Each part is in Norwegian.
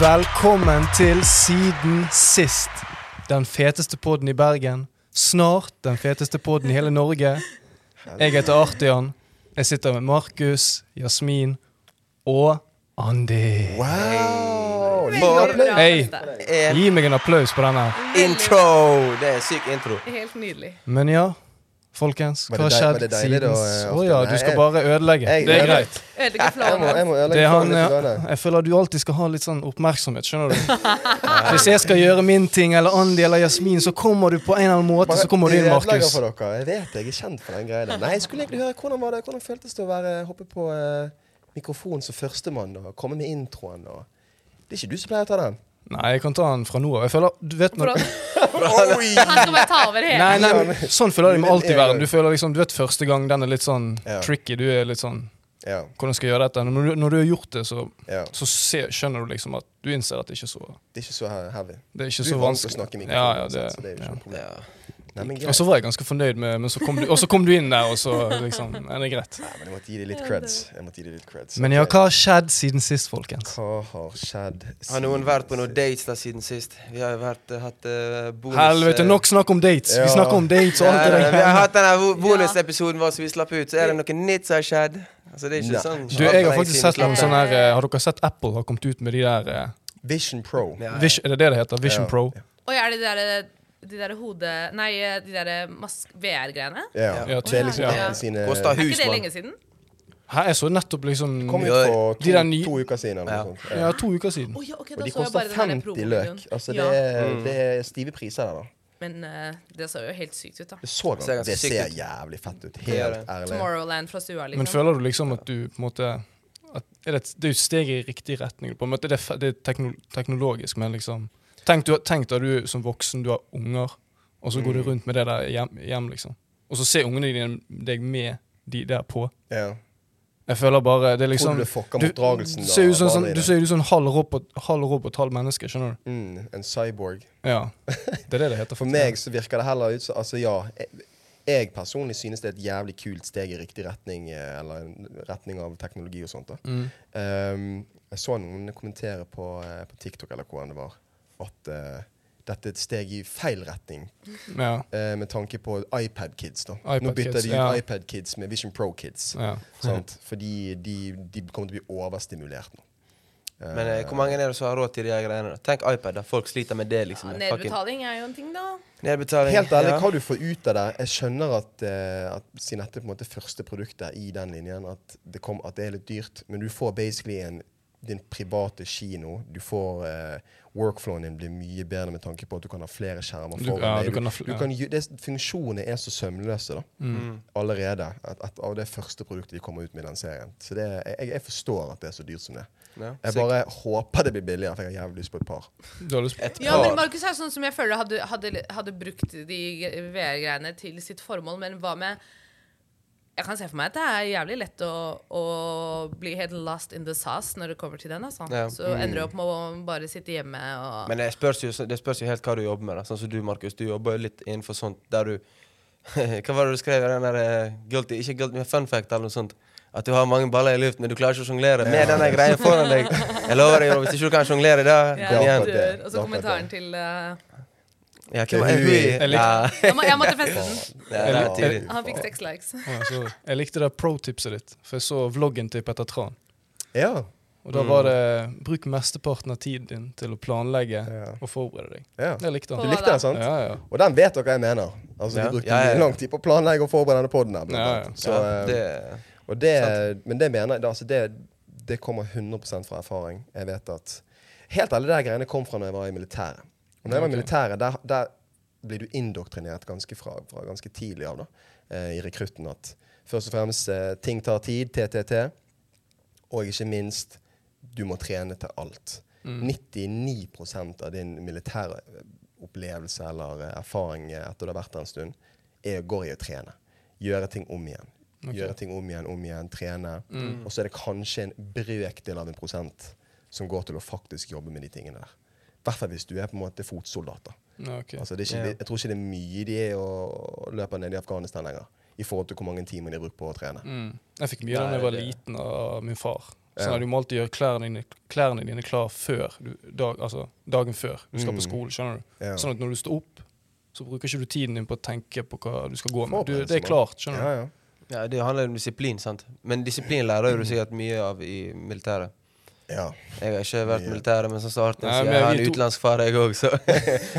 Velkommen til Siden sist. Den feteste podden i Bergen. Snart den feteste podden i hele Norge. Jeg heter Artian. Jeg sitter med Markus, Jasmin og Andi. Wow! Veldig bra, Hei. beste. En Gi meg en applaus på den her. intro! Det er en syk intro. Helt nydelig. Men ja, folkens. Var Hva har det dei- var skjedd det deilig siden da, s- Å Artian? ja, du Nei, skal jeg- bare ødelegge. jeg- Det er jeg- greit. Ødelegge Jeg må- Jeg planen. må ødelegge Det er han, faen litt ja. for deg. Jeg føler at du alltid skal ha litt sånn oppmerksomhet, skjønner du. Hvis jeg skal gjøre min ting, eller Andi eller Jasmin, så kommer du på en eller annen måte, Bare så kommer du inn, ødelegger Markus. for dere. Jeg vet jeg er kjent for den greia der. Nei, jeg skulle egentlig høre hvordan var det Hvordan føltes det å være, hoppe på eh, mikrofonen som førstemann og komme med introen? Og... Det er ikke du som pleier å ta den. Nei, jeg kan ta den fra nå av. Jeg føler Du vet når For at- Han skal bare ta over hele. Nei, nei, men sånn føler jeg meg Men alltid i jeg- verden. Du føler liksom, du vet første gang den er litt sånn Ja. tricky. Du er litt sånn Ja, Hvordan skal jeg gjøre dette? Når du, når du har gjort det, så, ja. så se, skjønner du liksom at du innser at det ikke er så Det er ikke så he- heavy. Det er ikke Du så er vant til å vanskelig. snakke Ja, i ja, mikrofonen, det, så det er jo ja. ikke noe problem. Ja. Nei, men Og greit. så var jeg ganske fornøyd med Men så kom du, og så kom du inn der, og så liksom Nei, det er greit. Nei, men jeg måtte gi deg litt creds. Jeg måtte gi deg litt creds. Men ja, Ok. hva har skjedd siden sist, folkens? Hva har skjedd Har noen vært på noen dates da siden sist? Vi har jo vært, eh, hatt eh, bonus... Helvete, eh, nok snakk om dates! Vi Ja. snakker om dates og alt Nei, det nei, der. Vi har hatt denne bo- Ja. bonusepisoden vår som vi slapp ut, så er det noe nytt som har skjedd. Altså, det er Nei. ikke sånn Du, jeg har Lenge faktisk siden sett vi slapp noen den. sånn her eh, Har dere sett Apple har kommet ut med de der eh, Vision Pro. Ja, ja. Vision, Er det det det heter? Vision Ja. Pro? Oi, er det de der, de der hode... Nei, de der mas- VR-greiene? Ja. Ja, Det er liksom ja. Apple sine Kosta Er ikke det husmann. lenge siden? Her, jeg så nettopp liksom Kom ut Ja. for De to, der nye- to uker siden. eller Ja. noe sånt. ja, to uker siden. Å ja, ok, Og da de så jeg koster bare den der 50 promovideoen. løk. Altså, det, Ja, er, det er stive priser der, da. men eh, det så jo helt sykt ut, da. Det, så Ser ganske, ganske det sykt ser ut. jævlig fett ut. Det gjør Helt det. ærlig. Tomorrowland fra stua, Men liksom. føler du liksom at du på en måte at, er det, et, det er jo et steg i riktig retning. På en måte. Det er, fe- det er tekno, teknologisk, men liksom Tenk, du, tenk da du som voksen, du har unger, og så går Mm. du rundt med det der hjem, hjem liksom. Og så ser ungene dine deg med de der på. Ja. Jeg føler bare Det er Tror liksom du det fucker du- med oppdragelsen? Du da, ser ut som av sånn, du barna dine? ser ut som en halv robot, halv robot, halv menneske, skjønner du? mm, En cyborg. Ja. Det er det det heter. For meg så virker det heller ut som Altså, ja. Jeg, jeg personlig synes det er et jævlig kult steg i riktig retning, eh, eller en retning av teknologi og sånt. da. Mm. Ehm, jeg så noen kommentere på, eh, på TikTok eller hvordan det var, at eh, dette er et steg i feil retning Ja. eh, med tanke på iPad Kids. da. Nå iPad bytter Kids, de ut ja. iPad Kids med Vision Pro Kids. ja. Sant? Fordi de, de kommer til å bli overstimulert nå. Eh, Men eh, hvor mange er det som har råd til de her greiene? da? Tenk iPad, da. Folk sliter med det, liksom. Ja, Fucking- nedbetaling er jo en ting, da. Nedbetaling. Helt ærlig, ja. hva du får ut av det Jeg skjønner at, eh, at siden dette er på en måte første produktet i den linjen, at det, kom, at det er litt dyrt, men du får basically en, din private kino. Du får eh, Workflowen din blir mye bedre med tanke på at du kan ha flere skjermer Du- foran ja, deg. du kan ha fl- du ja. kan, ju- det, funksjonene er så sømløse da, Mm. allerede at, at av det første produktet de kommer ut med i den serien. Så det, jeg, jeg forstår at det er så dyrt som det. Ja, Jeg sikkert. bare håper det blir billigere, for jeg har jævlig lyst på et par. Du har lyst på Et Ja, par. men Markus er sånn som jeg føler hadde, hadde, hadde brukt de VR-greiene til sitt formål, men hva med Jeg kan se for meg at det er jævlig lett å, å bli helt lost in the sauce når det kommer til den. Altså. Ja. Så Mm. ender du opp med å bare sitte hjemme og Men det spørs, jo, det spørs jo helt hva du jobber med. da. Sånn som du, Markus. Du jobber jo litt innenfor sånt der du Hva var det du skrev i den der eh, guilty, ikke guilty, men fun fact eller noe sånt? At du har mange baller i luften, men du klarer ikke å sjonglere med denne greia foran deg. Jeg lover deg, Rob, hvis ikke du kan sjonglere, da Ja, kom Ja, igjen. det- dør. Og det- så kommentaren til eh, Ja, hvem er du? Jeg likte- Ja, jeg, må, jeg måtte feste den. det er litt tidlig. Han fikk seks likes. Å, sorry. Jeg likte det pro-tipset ditt, for jeg så vloggen til Petter Tran. Ja. Og Mm. da var det bruk mesteparten av tiden din til å planlegge Ja. og forberede deg. ja. Det likte Du han. På- likte den, sant? Ja, ja. Og den vet dere jeg mener. Altså, Ja. Vi brukte Ja, ja, ja. lang tid på å planlegge og forberede denne podden her. Ja, blant ja. annet. Så, Ja, eh, det, og det, men det mener jeg det- altså, det, det kommer 100 fra erfaring. Jeg vet at Helt alle de greiene kom fra når jeg var i militæret. Og når jeg var i Ok. militæret, der, der blir du indoktrinert ganske fra, fra ganske tidlig av da, eh, i rekrutten at først og fremst eh, ting tar tid, TTT, og ikke minst du må trene til alt. Mm. 99 av din militære eh, opplevelse eller eh, erfaring eh, etter du har vært der en stund, er, går i å trene. Gjøre ting om igjen. Gjøre ting om igjen, om igjen, trene. Mm. Og så er det kanskje en brøkdel av en prosent som går til å faktisk jobbe med de tingene der. I hvert fall hvis du er på en måte fotsoldat. da. Ja, ok. Altså, det er ikke, Ja. det- Jeg tror ikke det er mye de er å løpe ned i Afghanistan lenger, i forhold til hvor mange timer de har brukt på å trene. Mm. Jeg fikk mye da Nei, jeg var det- liten av min far. Sånn at du må alltid gjøre klærne dine, klærne dine klar før du, dag, altså, dagen før du skal Mm. på skolen. skjønner du? Ja. Sånn at når du står opp, så bruker ikke du tiden din på å tenke på hva du skal gå med. Du, Forberedelse, det er bare. klart, skjønner du. Ja, ja. Ja, det handler om disiplin, sant. Men disiplin lærer jo du sikkert mye av i militæret. ja. Jeg har ikke vært Mye. i militæret, men sånn som Arten Nei, sier, men jeg har vi en to- utenlandsk far, jeg òg, så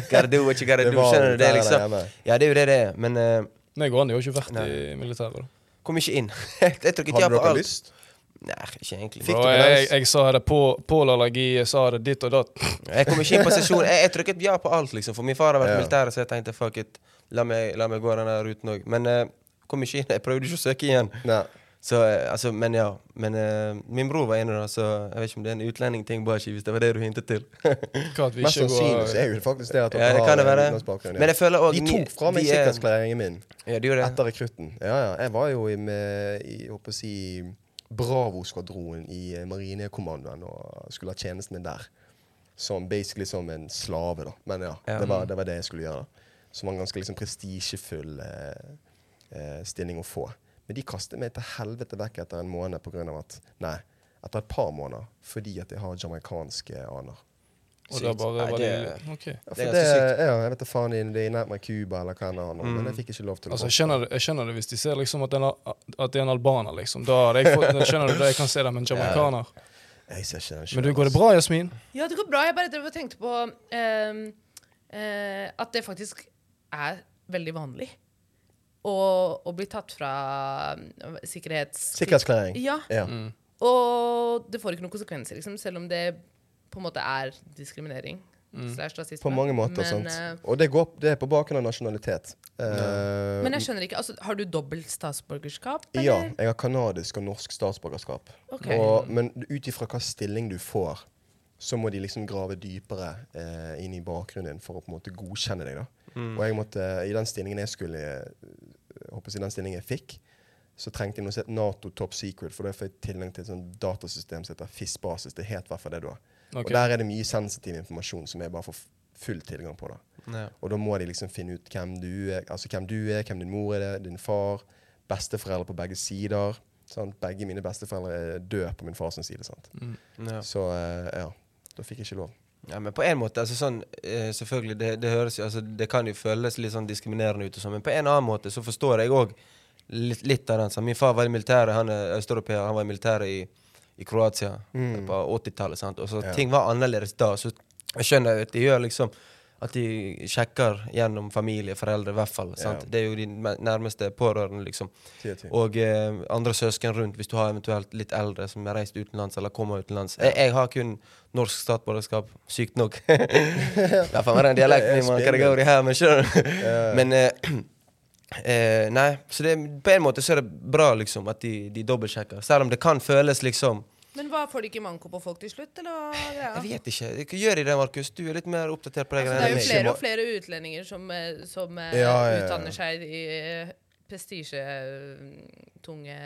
Gotta do what you gotta Det do. var Skjønner du? Det militæret er der liksom hjemme. Ja, det er jo det det er, men eh, Meg og Andy har jo ikke vært Nei. i militæret. da. kom ikke inn. jeg tok ikke ja Hadde på dere alt. lyst? Nei, ikke egentlig. Fikk Bro, dere jeg, dans? jeg sa det på pålallergi, jeg sa det ditt og datt. Jeg kom ikke inn på sesjon. Jeg, jeg trykket ja på alt, liksom. For min far har vært Ja. i militæret, så jeg tenkte fuck it, la meg, la meg gå den der ruten òg. Men eh, kom ikke inn. Jeg prøvde ikke å søke igjen. Nei. Så, eh, altså, men ja. Men eh, min bror var inne da, så jeg vet ikke om det er en utlendingting, bare ikke hvis det var det du hintet til. Hva at vi Mest ikke sannsynlig så går er jo faktisk det at dere ja, det har kan det en være. utenlandsbakgrunn, ja. Men jeg føler òg De tok fra meg sikkerhetsklareringen min Ja, de gjorde det. etter rekrutten. Ja, ja. Jeg var jo i, med, i jeg håper å si, Bravo-skvadronen i eh, Marinekommandoen og skulle ha tjenesten min der. Som basically som en slave, da. Men ja, Ja. Det, var, det var det jeg skulle gjøre. da. Som var en ganske liksom, prestisjefull eh, eh, stilling å få. Men de kastet meg til helvete vekk etter en måned pga. at Nei, etter et par måneder fordi at jeg har jamaicanske aner. og da bare Nei, var det, det- ok. Ja, Det for er det, ganske ja, jeg vet da faen i det er nært meg Cuba eller hva enn annet, men jeg fikk ikke lov til Altså, jeg, skjønner det, jeg skjønner det hvis de ser liksom at, det er en, at det er en albaner, liksom. Da hadde jeg fått, jeg skjønner du det, jeg kan se det med en jamaikaner. Jeg ser ikke den Men du, går selv, det altså. bra, Jasmin? Ja, det går bra. Jeg bare drev og tenkte på ehm, eh, at det faktisk er veldig vanlig å, å bli tatt fra eh, sikkerhets... Sikkerhetsklarering. Ja. altså. Ja. Og det får ikke noen konsekvenser, liksom, selv om det på en måte er diskriminering. Mm. Slash rasisme. På mange måter. men, sant? eh, Og det, går, det er på bakgrunn av nasjonalitet. Eh, men jeg skjønner ikke. Altså, har du dobbelt statsborgerskap? ja, jeg har kanadisk og norsk statsborgerskap. Ok. Og, men ut ifra hva stilling du får, så må de liksom grave dypere eh, inn i bakgrunnen din for å på en måte godkjenne deg. da. Og jeg måtte, i den stillingen jeg skulle eh, jeg håper å si den stillingen jeg fikk, så trengte jeg noe som het Nato Top Secret, for da får jeg tilgang til et sånt datasystem som heter FIS-basis. Det het i hvert fall det da. Ok. Og der er det mye sensitiv informasjon som jeg bare får full tilgang på. da. Ja. Og da må de liksom finne ut hvem du er, altså hvem du er, hvem din mor er, det, din far, besteforeldre på begge sider. Sant? Begge mine besteforeldre er døde på min fars side. Sant? Ja. Så eh, ja, da fikk jeg ikke lov. Ja, men på en måte, altså sånn, eh, selvfølgelig, det, det høres jo, altså det kan jo føles litt sånn diskriminerende ut og sånn, men på en annen måte så forstår jeg òg litt, litt av den. sånn. Min far var i militæret, han er østeuropeer, han var i militæret i, i Kroatia på 80-tallet, sant, og så Mm. Ja. ting var annerledes da, så jeg skjønner at de gjør liksom at de sjekker gjennom familie, foreldre, i hvert fall. sant? Ja. Det er jo de me- nærmeste pårørende, liksom. Ti av ti. Og eh, andre søsken rundt, hvis du har eventuelt litt eldre som har reist utenlands eller kommer utenlands. Jeg, jeg har kun norsk statsborgerskap, sykt nok. Derfor var det en dialekt min, man kan gå over i her, men skjønner du? Men eh, eh, Nei, så det, på en måte så er det bra liksom at de, de dobbeltsjekker. Selv om det kan føles liksom Men hva, får de ikke manko på folk til slutt, eller hva? er greia? Jeg vet ikke. Hva gjør de det, Markus? Du er litt mer oppdatert på det. Altså, greiene det er jo enn meg. flere og flere utlendinger som, eh, som eh, Ja, ja, ja. utdanner seg i eh, prestisjetunge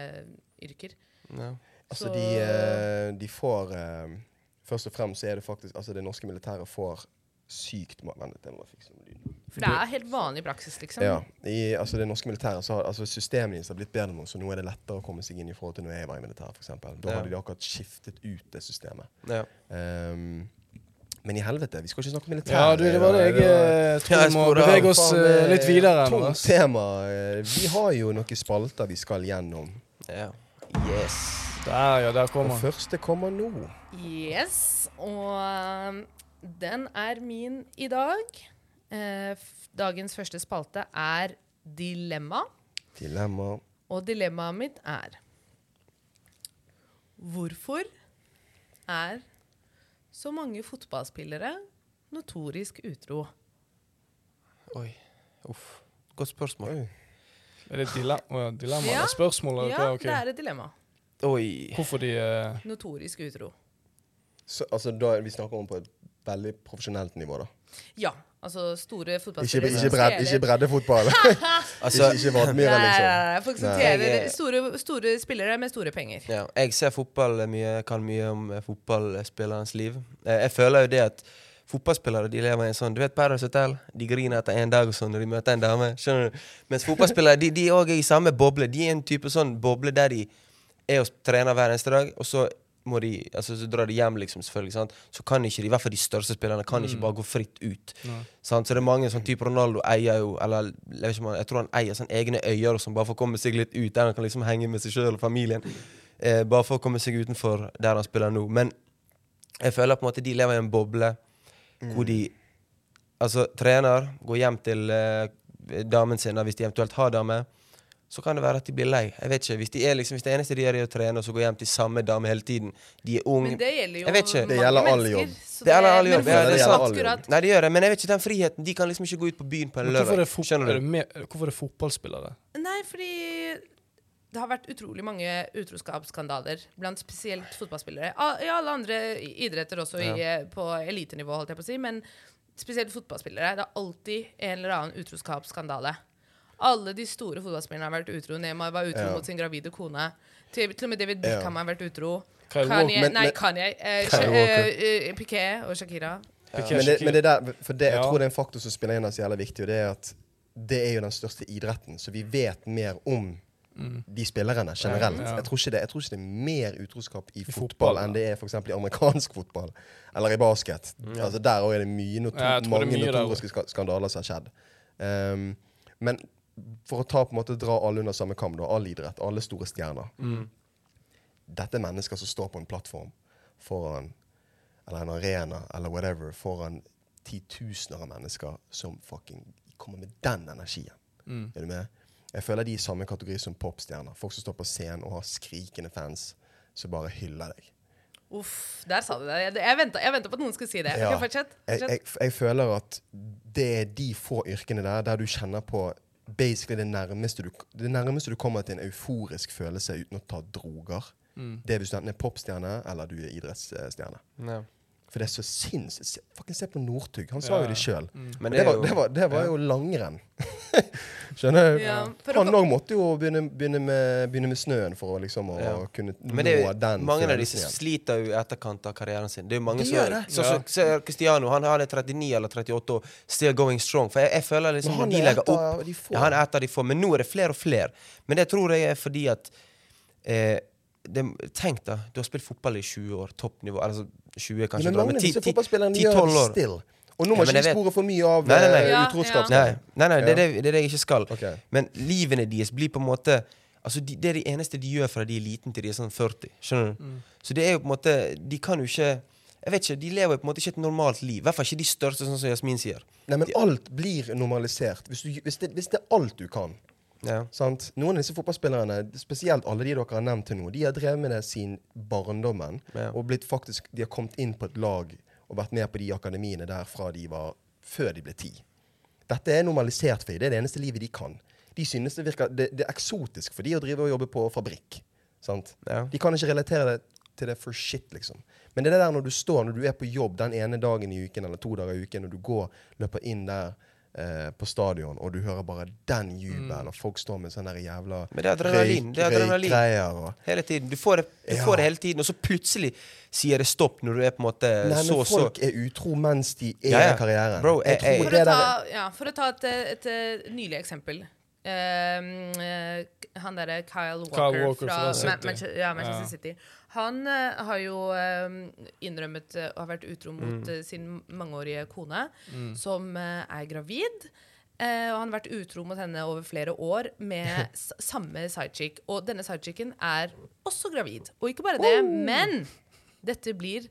yrker. Ja. Altså, Så- de, eh, de får eh, Først og fremst så er det faktisk Altså, det norske militæret får sykt ma- Vent litt, jeg må bare fikse med lyden. For det er helt vanlig praksis, liksom. Ja. I altså, det norske militæret så har altså, systemet deres har blitt bedre nå, så nå er det lettere å komme seg inn i forhold til når jeg var i militæret, f.eks. Da Ja. hadde de akkurat skiftet ut det systemet. Ja. Ehm, men i helvete, vi skal ikke snakke om militæret. Ja, du, det var det jeg eh, tror vi må bevege oss eh, litt videre. nå, Tungt ass. tema. Eh, Vi har jo noen spalter vi skal gjennom. ja. Yes. Der, ja, der Og kommer han. første kommer nå. Yes, og um, den er min i dag. Eh, f- dagens første spalte er dilemma, Dilemma. og dilemmaet mitt er Hvorfor er så mange fotballspillere notorisk utro? Oi. Uff. Godt spørsmål. Oi. Er det et dile å, ja, dilemma? Ja. Ja. Spørsmål? eller Ja, hva? Ok. det er et dilemma. Oi. Hvorfor de eh, Notorisk utro. Så, altså, da, vi snakker om på et veldig profesjonelt nivå, da. Ja, altså store Ikke, fotballspillere ikke, som bred, stjeler- ikke breddefotball. Altså, ikke ikke Vadmyra, Nei, liksom. nei, nei, folk som Nei. tjener Jeg er- store, store spillere med store penger. Ja, jeg ser fotball mye, kan mye om eh, fotballspillerens liv. Eh, Jeg føler jo det at fotballspillere de lever i en sånn Du vet Paradise Hotel? De griner etter en dag og sånn når de møter en dame. skjønner du? Mens fotballspillere de, de også er i samme boble. De er en type sånn boble der de er og trener hver eneste dag, og så må de, altså så drar de hjem, liksom, selvfølgelig. Sant? Så kan ikke de, i hvert fall de største spillerne, kan ikke bare gå fritt ut. Nei. Sant? Så det er mange sånn type Ronaldo eier jo Eller jeg, vet ikke om han, jeg tror han eier sånn egne øyer som bare får komme seg litt ut, der han kan liksom henge med seg sjøl og familien. Eh, bare for å komme seg utenfor der han spiller nå. Men jeg føler på en måte de lever i en boble hvor de altså, trener, går hjem til eh, damen sin da, hvis de eventuelt har dame. Så kan det være at de blir lei. Jeg vet ikke, Hvis, de er liksom, hvis det eneste de gjør, er å trene og så gå hjem til samme dame hele tiden De er unge. Men det gjelder jo Jeg vet ikke. Det gjelder all mennesker, jobb. så Det gjelder all men jobb, ja, folk det gjelder all akkurat- Nei, det gjør det, men jeg vet ikke den friheten. De kan liksom ikke gå ut på byen på en Men hvorfor er, lørdag. det fot- Skjønner er du? det mer, hvorfor er det fotballspillere? Nei, fordi det har vært utrolig mange utroskapsskandaler blant spesielt fotballspillere. A- I alle andre i- idretter også, i, på elitenivå, holdt jeg på å si, men spesielt fotballspillere. Det er alltid en eller annen utroskapsskandale. Alle de store fotballspillerne har vært utro. Neymar var utro Ja. mot sin gravide kone. Til, til og med David Beckham har vært utro. Kyle Kanye, Walker- Men- nei, men- Kanye. Eh, Kyle Sha- Walker. eh, eh, Piquet og Shakira. Piqué, Men det, men det der, for det, jeg Ja. tror det er en faktor som spiller inn her som er jævlig viktig, og det er at det er jo den største idretten, så vi vet mer om de spillerne generelt. Ja. Jeg, tror ikke det, jeg tror ikke det er mer utroskap i fotball, fotball, ja. enn det er for eksempel i amerikansk fotball eller i basket. Altså Der også er det mye noto Ja, jeg tror det er mange mye der notoriske ska skandaler som har skjedd. Um, men for å ta på en måte dra alle under samme kam, da, all idrett, alle store stjerner Mm. Dette er mennesker som står på en plattform foran eller en arena eller whatever foran titusener av mennesker som fucking kommer med den energien. Mm. Er du med? Jeg føler de er i samme kategori som popstjerner. Folk som står på scenen og har skrikende fans som bare hyller deg. Uff, der sa du det. Jeg, jeg venta jeg ventet på at noen skulle si det. Ja. Ok, fortsett. Jeg, fortsett. jeg, jeg føler at det er de få yrkene der der du kjenner på basically det nærmeste du, det nærmeste du kommer til en euforisk følelse uten å ta droger. Mm. Det er hvis du enten er popstjerne eller du er idrettsstjerne. Ja. For det er så sinnssykt. Se- Fucking se på Northug. Han sa Ja, jo ja. det sjøl. Mm. Men Det, var- det, var- det var jo langrenn. Skjønner du? Ja, for han å- òg måtte jo begynne, begynne, med, begynne med snøen for å liksom å Ja. kunne Men det er nå jo, den mange av de følelsen som igjen. sliter jo i etterkant av karrieren sin. Det er jo mange De som gjør det. Så, så, så er Cristiano han, han er 39 eller 38 og still going strong. For jeg, jeg føler liksom Men når han de er legger et opp av de få. ja, Han er et av de få. Men nå er det flere og flere. Men det tror jeg er fordi at eh, det, Tenk da, du har spilt fotball i 20 år. Toppnivå. Altså 20 er Ja, kanskje men bra, mange av disse 10 10 fotballspillerne 10-12 gjør det år. still. Og nå Ja, må men ikke jeg vi vet- spore for mye av Nei, nei, nei. eh, Ja, utroskap. ja. Nei. Nei, nei, nei det, er Ja. det, det er det jeg ikke skal. Ok. Men livene deres blir på en måte Altså, de, Det er det eneste de gjør fra de er liten til de er sånn 40. Skjønner du? Så det er jo på en måte De kan jo ikke Jeg vet ikke, De lever jo på en måte ikke et normalt liv. I hvert fall ikke de største, sånn som Jasmin sier. men alt blir normalisert. Hvis, du, hvis, det, hvis det er alt du kan. Ja. Sant? Noen av disse fotballspillerne, spesielt alle de dere har nevnt til nå, de har drevet med det siden barndommen. Ja. Og blitt faktisk, de har kommet inn på et lag og vært med på de akademiene der fra de var før de ble ti. Dette er normalisert for dem. Det er det eneste livet de kan. De synes Det virker, det, det er eksotisk for de å drive og jobbe på fabrikk. Sant? Ja. De kan ikke relatere det til det for shit, liksom. Men det er det der når du står, når du er på jobb den ene dagen i uken eller to dager i uken, og du går, løper inn der eh, på stadion, og du hører bare den jubelen, og folk står med sånne der jævla Mm. Men det er adrenalin, det er adrenalin. røykgreier og Hele tiden. Du får det, du Ja. får det hele tiden, og så plutselig sier det stopp når du er på en måte Nei, men Eh, så så folk er utro mens de er Ja, ja. i karrieren. Bro, jeg- jeg- tror For det å ta, der er- ja, for å ta et, eh, et, eh, nylig eksempel. Ehm, eh, han derre Kyle Walker, Walker fra, fra City. Ma Manche- ja, Manchester Ja. City. Han eh, har jo ehm, innrømmet eh, å ha vært utro mot eh, sin mangeårige kone, som eh, er gravid. Eh, og han har vært utro mot henne over flere år med s samme sidechick. Og denne sidechicken er også gravid. Og ikke bare det, Oh. men dette blir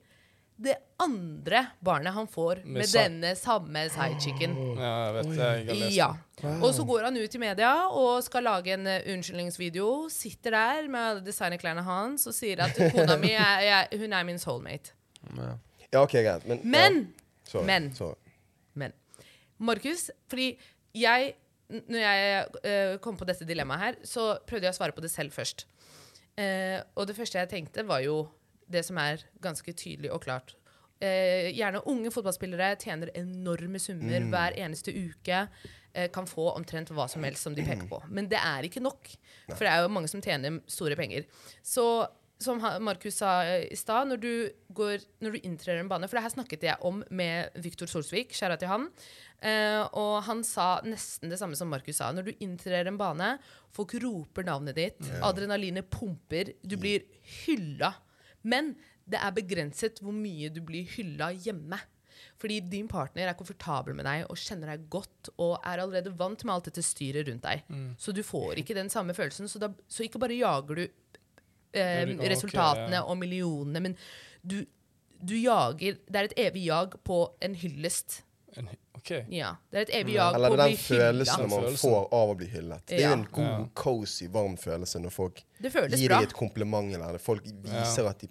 det andre barnet han får med, Med sa- denne samme sidechicken. Ja, jeg vet det. Jeg har lest Ja. Og så går han ut i media og skal lage en eh, unnskyldningsvideo. Sitter der med alle designerklærne hans og sier at kona mi er, jeg, hun er min soulmate. ja. Ja, OK, greit. Men, Men! ja, sorry, men- sorry. Men Markus, fordi jeg n- Når jeg eh, kom på dette dilemmaet her, så prøvde jeg å svare på det selv først. Eh, og det første jeg tenkte, var jo det som er ganske tydelig og klart. Eh, gjerne unge fotballspillere tjener enorme summer hver eneste uke. eh, kan få omtrent hva som helst som de peker på. Men det er ikke nok. For det er jo mange som tjener store penger. Så som ha- Markus sa eh, i stad, når, du går- når du inntrer en bane For det her snakket jeg om med Viktor Solsvik, skjæra til han. eh, og han sa nesten det samme som Markus sa. Når du inntrer en Mm. bane, folk roper navnet ditt, adrenalinet pumper, du blir hylla. Men det er begrenset hvor mye du blir hylla hjemme. Fordi din partner er komfortabel med deg og kjenner deg godt og er allerede vant med alt dette styret rundt deg. Mm. Så du får ikke den samme følelsen. Så, da, så ikke bare jager du eh, du- ok, resultatene ja. og millionene, men du, du jager Det er et evig jag på en hyllest. En, hy- ok. Ja. Det er et evig jag Mm. Eller på det å er bli den følelsen hylla. om- man Følelsen. får av å bli hyllet. Det er jo en Ja. god, cozy, varm følelse når folk Det gir føles deg bra. et kompliment eller det. folk viser at, de,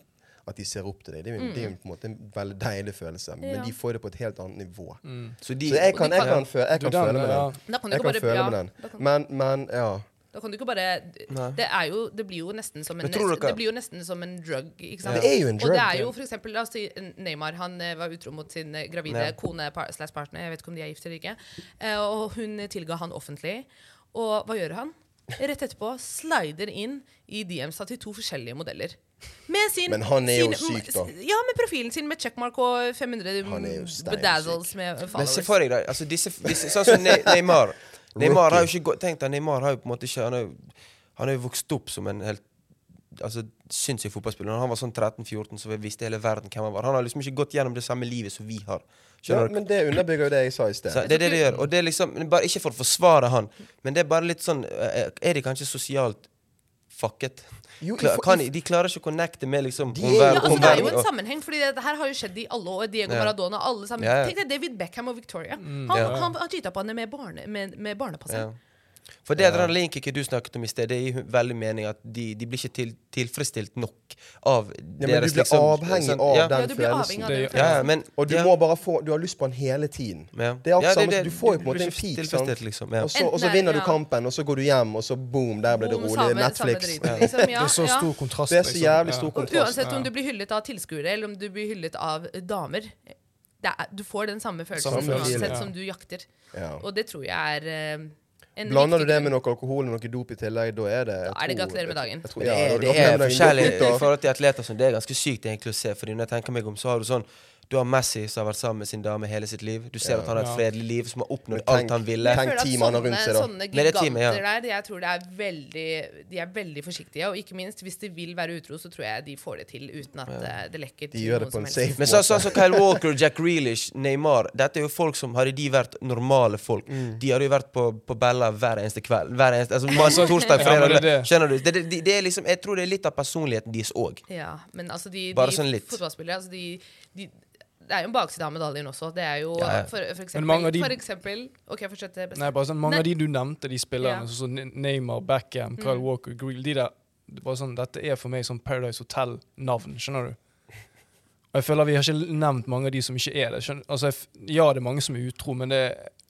at de ser opp til deg. Det er jo en- det er jo på en måte en veldig deilig følelse, men Mm. Ja. de får det på et helt annet nivå. Så de Så jeg kan, jeg Og de kan, kan- fø- mm. jeg Du, kan den, føle med ja. den. Da kan du Jeg ikke kan bare føle ja, med den. da kan- Men, men ja. Da kan du ikke bare Nei. det, er jo, det blir jo nesten som en, Men tror dere- det blir jo nesten som en drug. Ikke sant? Det er jo en drug, Og det er ja. jo for eksempel, la oss si Neymar han eh, var utro mot sin eh, gravide Ja. kone par, slash partner. Jeg vet ikke om de er gift eller ikke. Eh, og hun tilga han offentlig. Og hva gjør han? Rett etterpå slider inn i DM-sa til to forskjellige modeller. Med sin, Men han er jo sin, syk, da. Ja, med profilen sin med checkmark og 500 Han er jo steinsyk. bedazzles med Men se followers. for deg, da. Altså, disse, disse, sånn som Ne- Neymar. Neymar har jo ikke gått Tenk deg, Neymar har jo på en måte ikke Han har jo, han har jo vokst opp som en helt Altså, sinnssyk fotballspiller. Når han var sånn 13-14, så visste hele verden hvem han var. Han har liksom ikke gått gjennom det samme livet som vi har. ja. Skjønner du? Men det underbygger jo det jeg sa i sted. Så det er det de gjør. Og det er liksom men bare Ikke for å forsvare han, men det er bare litt sånn eh, Er de kanskje sosialt fucket? Jo, i Kla- for- kan, de- de klarer ikke å connecte med liksom De er- omver- Ja, altså, det er jo omverdenen, en og- sammenheng, fordi det her har jo skjedd i alle år. Diego Ja. Maradona, alle sammen. Ja, ja. Tenk deg David Beckham og Victoria. Han, Mm, Ja. han, han cheata på henne med, barne, med, med barnepasseren. Ja. For det adrenalinkicket du snakket om i sted, det gir jo veldig mening at de, de blir ikke til, tilfredsstilt nok av Ja, men du blir avhengig sånn- av ja. den Ja, du blir avhengig følelsen. av den Det- Ja, ja, følelsen. men Og du ja, må bare få Du har lyst på den hele tiden. ja. Det er akkurat Ja, samme som- du får jo på en blir måte en ikke peak, tilfredsstilt, sant? Liksom, ja. Og så, og så Enten er- vinner du ja. kampen, og så går du hjem, og så boom, der ble det Boom, rolig. samme- samme Netflix. driten, liksom, ja, Det er så ja. stor kontrast. Det er så liksom. jævlig Ja. stor Og kontrast. uansett om du blir hyllet av tilskuere eller om du blir hyllet av eh, damer, det er, du får den samme følelsen Samme følelsen, uansett ja. som du jakter. Ja. Og det tror jeg er eh, en Blander du det viktig grunn. med noe alkohol og noe dop i tillegg, da er det jeg Da er det tror- gratulerer med dagen. Jeg tror, Men ja, da er det det gratulerer er, med det er dagen. forskjellig Da- i forhold til atleter som det er ganske sykt egentlig å se. Fordi når jeg tenker meg om, så har du sånn Du har Messi som har vært sammen med sin dame hele sitt liv. Du ser at han har et Ja. fredelig liv, som har oppnådd Men tenk- alt han ville. Men Jeg Tenk føler at teamet han har rundt seg, da. Sånne Med det giganter teamet, ja. der, jeg tror det er veldig, de er veldig forsiktige. Og ikke minst, hvis de vil være utro, så tror jeg de får det til uten at eh, det lekker De til gjør det noen på som en helst. safe Men sånn måte. så, så Kyle Walker, Jack Grealish, Neymar Dette er jo folk som Hadde de vært normale folk Mm. De hadde jo vært på, på Bella hver eneste kveld. Hver eneste, altså mandag, torsdag, Ja, men fredag det er det. Skjønner du? Det, det, det- det er liksom, jeg tror det er litt av personligheten deres òg. Ja, men altså de, Bare de sånn litt. fotballspillere altså de, de, Det er jo en bakside av medaljen også. Det er jo Ja, ja. For, for, eksempel, mange av de- for eksempel OK, fortsett. det er best. Nei, bare sånn, Mange Nei. av de du nevnte, de spillerne, Ja. Mm. sånn som Ne- Neymar, Beckham, Kyle Walker, Greel de der, det er bare sånn, Dette er for meg sånn Paradise Hotel-navn, skjønner du? Og jeg føler Vi har ikke nevnt mange av de som ikke er det. skjønner- Altså, jeg, f- ja, det er mange som er utro, men det,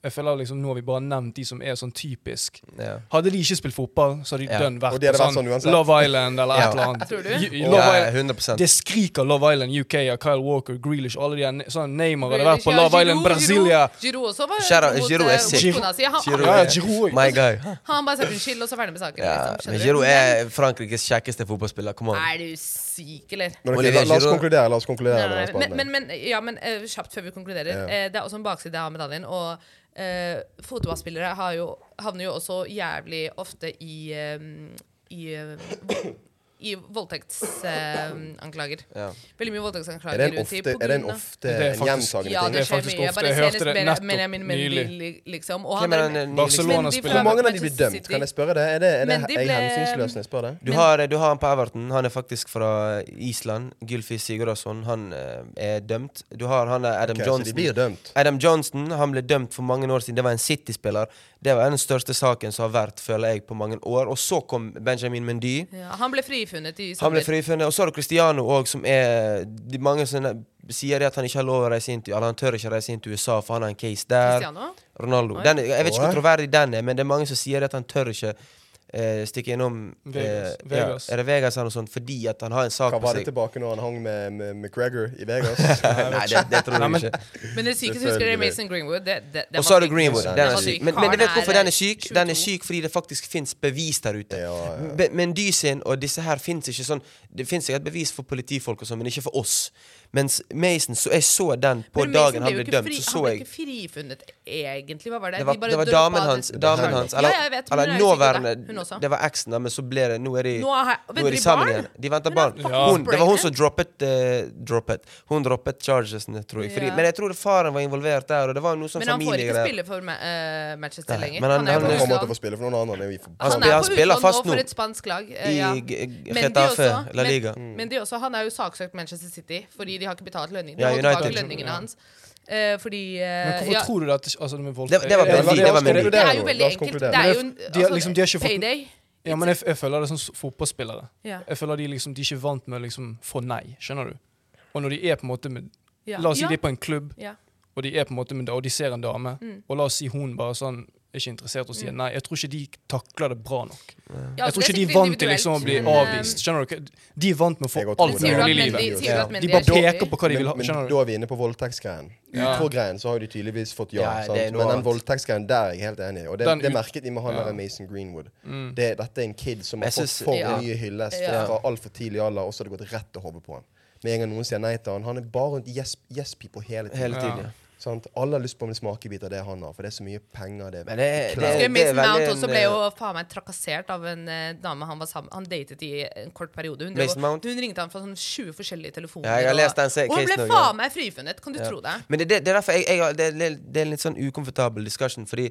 jeg føler liksom nå har vi bare nevnt de som er sånn typisk. Ja. Hadde de ikke spilt fotball, så hadde de Ja. dønn vært, Og de hadde på vært sånn uansett. Love Island eller Ja. et eller annet. Tror du? Ju- Ja, Love ja, Island- 100 det skriker Love Island UK av Kyle Walker, Grealish alle de der. Sånn Neymar hadde vært på Ja, Love Giroud- Island Brasilia. Giroud- Giroud også var Shout out, mot, Giroud er eh, sick. mot kona si. Han, Giroud Ja, er- ja, Giroud. My guy. han bare sa unnskyld, og så ferdig med saken. Ja, liksom, men skjønner Giroud du? er Frankrikes kjekkeste fotballspiller. Kom an. Er du syk, eller? Men ok, Olivier la, la oss Giroud- konkludere. La oss konkludere med Nei, den nei, men, spalten. men, men, ja, men eh, kjapt før vi konkluderer. Ja. Eh, det er også en bakside av medaljen. Og eh, fotballspillere har jo, havner jo også jævlig ofte i eh, i, eh, vo- i voldtektsanklager. Ja. Veldig mye Er det voldtektsanklager en ofte, er det en, ofte, Det er en faktisk- gjentagende Det ting? Ja, det er skjer faktisk mye. Jeg ofte. bare Jeg ser hørte det Benjamin- nettopp Benjamin nylig. Mendy, liksom. Og han Hvem er er den, eh, nye, liksom? Barcelona- Mendy fra Hvor mange av de blir Manchester dømt? City. Kan jeg spørre det? Er det, er det, Men de er jeg ble- hensynsløs når jeg spør det? Du har, du har en på Everton. Han er faktisk fra Island. Gylfi Sigurðarson. Han eh, er dømt. Du har han der Adam Ok, så de Johnson. blir jo dømt. Adam Johnson han ble dømt for mange år siden. Det var en City-spiller. Det var den største saken som har vært føler jeg, på mange år. Og så kom Benjamin Mendy. Ja, han ble frifunnet i Han ble sommer. frifunnet. Og så har du Cristiano òg, som er de Mange som sier det at han ikke har lov å reise inn til Eller han tør ikke reise inn til USA, for han har en case der. Cristiano? Ronaldo. Oi. Den, er- jeg vet ikke Oi. hvor troverdig den er, men det er mange som sier at han tør ikke eh, stikke innom eh, Vegas. Vegas. Ja, er det Vegas eller noe sånt, fordi at han har en sak Hva på var det seg. tilbake når han hang med, med McGregor i Vegas? Nei, det, det tror jeg ikke. Men det sykeste husker dere Selvfølgelig. Mason Greenwood. Det, det, det Og så var er det sykt. syk. Greenwood. Den Den er var syk. syk. Men, men du Karen vet hvorfor den er er syk? Den er 22. syk fordi det faktisk fins bevis der ute. Ja, ja. Be- Men de sin og disse her fins ikke sånn Det fins et bevis for politifolk og sånn, men ikke for oss. Mens Mason, så jeg så den på Men Mason dagen han jo ble ikke dømt, fri- så Han så ble jeg ikke frifunnet, egentlig. Hva var det? Det var, De bare det var droppa damen det. hans, damen hans Ja, eller, jeg vet, men hun eller er jo sikkert nåværende det. Hun hun også. Det var eksen, da, men så ble det Nå er de, Nå er, he- nå venter er de de sammen barn? igjen. De Hun venter er barn. fucking Ja. Hun, det var hun pregnant. som droppet, eh, droppet. Hun droppet chargesene, tror jeg. Fordi, Ja. Men jeg tror faren var involvert der, og det var noe sånn Men han får ikke familiegreier. spille for Ma- eh, Manchester Nei, lenger. men han- er Han på han- kommer til å utlån. få spille for noen andre. Vi får Han Han spiller- er han på spiller utlån fast nå nå. for et spansk lag. eh, I ja. G- G- Men de Getafe, også- La Liga. Men, men de også, han er jo saksøkt Manchester City fordi de har ikke betalt lønning. De Ja, har holdt tilbake United. lønningene hans. Eh, fordi eh, Men hvorfor ja, tror du det? At, altså, det, med vold- Det- det var Ja, veldig- det var det- veldig- Det er jo nå. veldig La oss enkelt. konkludere. Det er jo Men en det- de har altså, liksom- de har ikke fått- payday. Ja, men jeg, jeg føler det er sånn som fotballspillere. Ja. Jeg føler de liksom, de er ikke vant med liksom få nei, skjønner du? Og når de er på en måte med Ja. La oss si ja. de er på en klubb, Ja. og de er på en måte med, da- og de ser en dame, og la oss si hun bare sånn er ikke interessert og sier nei. Jeg tror ikke de takler det bra nok. Mm. Ja, jeg altså, tror det ikke de er sikkert vant til liksom å bli individuelt, men, eh, avvist. Skjønner du? ikke? De er vant med å få Jeg går til Men alt sier du mulig i at Mendy, livet. sier du at Ja. Mendy De er bare skyldig? peker på hva de vil ha. Men, men skjønner da du? er vi inne på voldtektsgreien. Ja. Utro-greien så har de tydeligvis fått ja. Ja, det er sant? Men noe den annet. voldtektsgreien der er jeg helt enig i. Og det, Den det ut- merket de med han Ja. Mm. der Mason Greenwood. Det, dette er en kid som har Jeg fått synes- for Ja. mye hyllest Ja. fra altfor tidlig alder, og så har det gått rett til hodet på han. Med en gang noen sier nei til han, han er bare rundt yes, yes people hele tiden. Hele tiden, Ja. ja. Sant? Alle har lyst på en smakebit av det han har, for det er så mye penger det Men klær. det- Eh, det- Husker jeg Mason veldig Mount en, eh, også ble jo faen meg trakassert av en eh, dame han var sammen Han datet i en kort periode. Hun, drev Mason og- Mount? hun ringte han fra sånn 20 forskjellige telefoner. Ja, jeg har og- lest den se- og hun ble casen også, ja. faen meg frifunnet, kan du tro det? Men det, det, det er derfor jeg, jeg, har- det, er- det er en litt sånn ukomfortabel discussion, fordi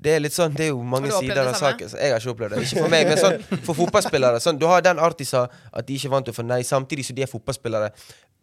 det er litt sånn, det er jo mange Har du opplevd sider av det samme? saken. så Jeg har ikke opplevd det. Ikke for meg, men sånn, for fotballspillere. Sånn, du har den Arti sa, at de ikke er vant til å få nei, samtidig som de er fotballspillere.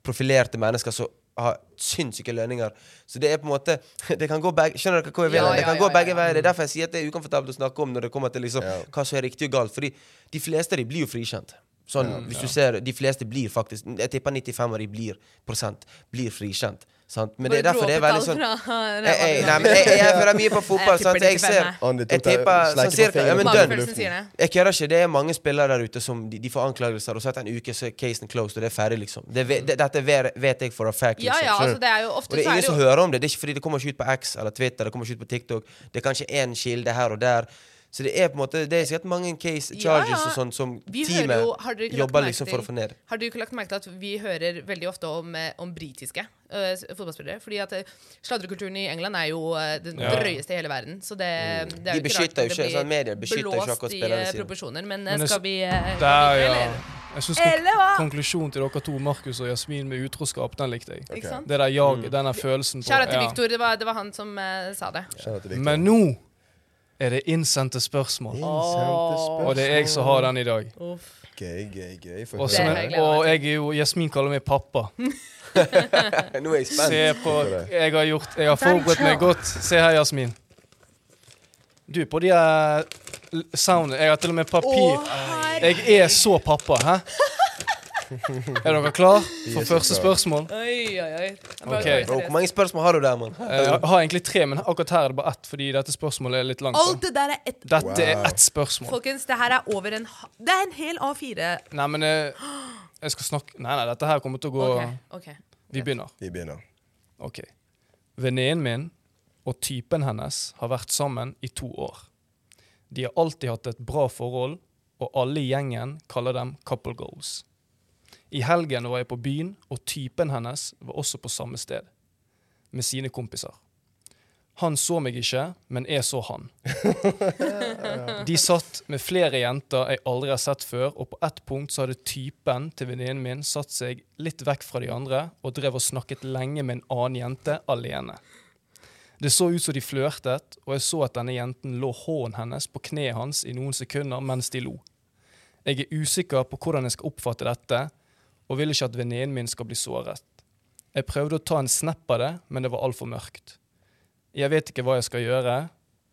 Profilerte mennesker som har sinnssyke lønninger. Så det er på en måte det kan gå begge, Skjønner dere hva jeg vil? Ja, det ja, kan ja, gå ja, begge ja. veier. Det er derfor jeg sier at det er ukomfortabelt å snakke om når det kommer til liksom, Ja. hva som er riktig og galt. Fordi de fleste av de blir jo frikjent. Sånn, hvis du ser, De fleste blir faktisk Jeg tipper 95 av de blir prosent blir frikjent. Sant? Men det er Bare dro derfor det er opp et veldig tall sånn fra- jeg, jeg, nei, men jeg, jeg, hører mye på fotball. Jeg tipper sant? Så jeg 95 ser er. Andy tok Jeg deg- tipper sleiket sånn på cirka. Ja, fingeren men på dønn. Magefølelsen sier det. Jeg kødder ikke. Det er mange spillere der ute som de, de får anklagelser, og så etter en uke så er casen closed, og det er ferdig, liksom. Det, ve- det, dette vet, vet jeg for a fact, Ja, liksom. ja, skjønner altså du? det er jo og ofte det er så er ingen det som jo hører om det. Det er ikke fordi det kommer ikke ut på X eller Twitter, det kommer ikke ut på TikTok. Det er kanskje én kilde her og der. Så det er på en måte Det er sikkert mange case Ja, charges ja. og sånn som Vi hører teamet jo- har dere ikke lagt jobber merke liksom for å få til- ned. Har du ikke lagt merke til at vi hører veldig ofte om, eh, om britiske eh, s- fotballspillere? Fordi at eh, sladrekulturen i England er jo eh, den Ja. drøyeste i hele verden. Så det, det er Mm. De jo ikke beskytter rart at jo det ikke- sånn media blir beskytter jo ikke akkurat blåst i spillerne eh, sine. proporsjoner. Men, eh, Men jeg skal s- vi eh, gå Der, videre, ja. eller? Jeg synes kon Eller hva? Konklusjonen til dere to, Markus og Jasmin, med utroskap, den likte jeg. Ikke sant? Det der jaget, den der følelsen på Kjære til ja. Victor, det var, det var han som eh, sa det. Kjenner at det er viktig. Men nå er det innsendte spørsmål, Innsendte og det er jeg som har den i dag. spørsmål. Gøy, gøy, gøy. Få Og, høre. som Det er jeg, jeg gleder og meg jeg er jo Jasmin kaller meg pappa. Nå er jeg spent. Se på Jeg har gjort Jeg har forberedt meg godt. Se her, Jasmin. Du, på de her l- soundene Jeg har til og med papir. Jeg er så pappa, hæ? Er dere klar for første spørsmål? Oi, oi, oi. Jeg bare Ok. tar det Bro, seriøst. hvor mange spørsmål har du der, mann? Eh, Jeg har egentlig tre, men akkurat her er det bare ett, fordi dette spørsmålet er litt langt. Alt da. det der er ett Dette er ett spørsmål. Folkens, det her er over en ha- Det er en hel A4. Nei, men eh, jeg skal snakke Nei, nei, dette her kommer til å gå Ok, ok. Vi begynner. Vi begynner. Ok. Venninnen min og typen hennes har vært sammen i to år. De har alltid hatt et bra forhold, og alle i gjengen kaller dem couple goals. I helgen var jeg på byen, og typen hennes var også på samme sted, med sine kompiser. Han så meg ikke, men jeg så han. De satt med flere jenter jeg aldri har sett før, og på ett punkt så hadde typen til venninnen min satt seg litt vekk fra de andre og drev og snakket lenge med en annen jente alene. Det så ut som de flørtet, og jeg så at denne jenten lå hånden hennes på kneet hans i noen sekunder mens de lo. Jeg er usikker på hvordan jeg skal oppfatte dette, og vil ikke at venninnen min skal bli såret. Jeg prøvde å ta en snap av det, men det var altfor mørkt. Jeg vet ikke hva jeg skal gjøre.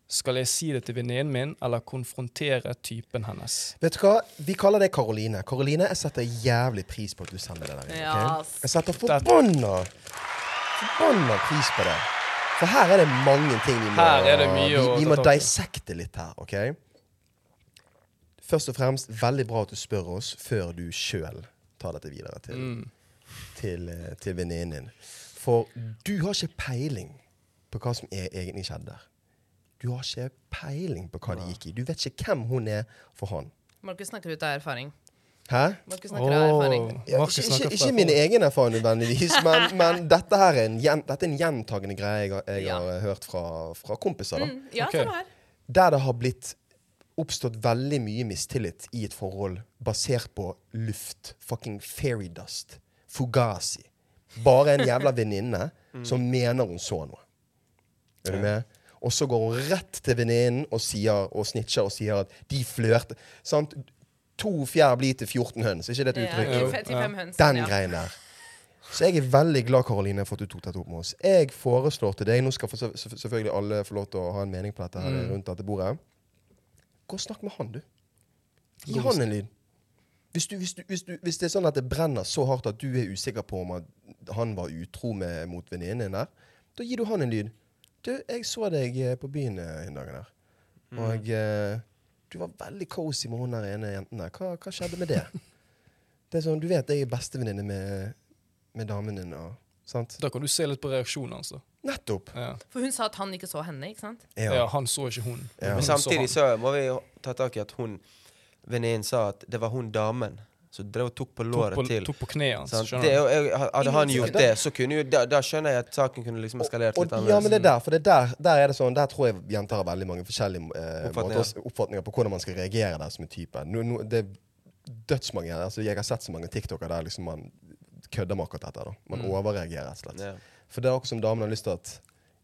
Skal jeg si det til venninnen min, eller konfrontere typen hennes? Vet du hva? Vi kaller deg Karoline. Karoline, jeg setter jævlig pris på at du sender det der. inn, Ja, ok? ass. Jeg setter forbanna Forbanna pris på det. For her er det mange ting vi må Her er det mye vi, å vi ta må tak i. dissekte litt her, OK? Først og fremst, veldig bra at du spør oss før du sjøl tar dette videre til, Mm. til, eh, til venninnen din. For du har ikke peiling på hva som e- egentlig skjedde der. Du har ikke peiling på hva det gikk i. Du vet ikke hvem hun er for han. Markus snakker ut av erfaring. Hæ? Markus snakker av erfaring. Ja, Markus ikke, snakker ikke, fra ikke erfaring. min egen erfaring nødvendigvis, men, men dette her er en, gjen, dette er en gjentagende greie jeg, har- jeg Ja. Mm. har hørt fra, fra kompiser. da. Ja, Ok. sånn her. Der det har blitt oppstått veldig mye mistillit i et forhold basert på luft. Fucking fairy dust. Fugazi. Bare en jævla venninne som mener hun så noe. Er du med? Og så går hun rett til venninnen og, sier- og snitcher og sier at de flørter. Sant? To fjær blir til 14 høns. Er ikke det et uttrykk? Jo. til fem høns, Den ja. greien der. Så jeg er veldig glad Karoline for at du tok dette opp med oss. Jeg foreslår til deg Nå skal for- selvfø- selvfølgelig alle få lov til å ha en mening på dette her rundt dette bordet. Gå og snakk med han, du. Gi han en lyd. Hvis, du, hvis, du, hvis, du, hvis det er sånn at det brenner så hardt at du er usikker på om at han var utro med, mot venninnen din der, da gir du han en lyd. Du, jeg så deg eh, på byen eh, en dag der, og eh, du var veldig cozy med hun der ene jenten der. Hva, hva skjedde med det? Det er sånn, Du vet jeg er bestevenninne med, med damen din. Og, sant? Da kan du se litt på reaksjonen hans. da. Nettopp! Ja. For hun sa at han ikke så henne, ikke sant? ja, Ja. han så ikke hun. Ja. Hun Men så samtidig han. så må vi jo ta tak i at hun venninnen sa at det var hun damen som drev og tok på Tok låret på, til. tok på kneet hans. Sant? skjønner Det er du? jo, jeg, hadde han gjort Ja, da- det, så kunne jo, da, da skjønner jeg at saken kunne liksom eskalert Og, litt ja, men annerledes. det er der, for det er der, der er det sånn, der tror jeg jenter har veldig mange forskjellige eh, Oppfatninger. måter, oppfatninger på hvordan man skal reagere der som en type. Nå, nå, det er dødsmange her. Altså, jeg har sett så mange TikToker der liksom man kødder med akkurat dette. da. Man overreagerer rett og slett. Mm. Ja. For det er akkurat som damen har lyst til at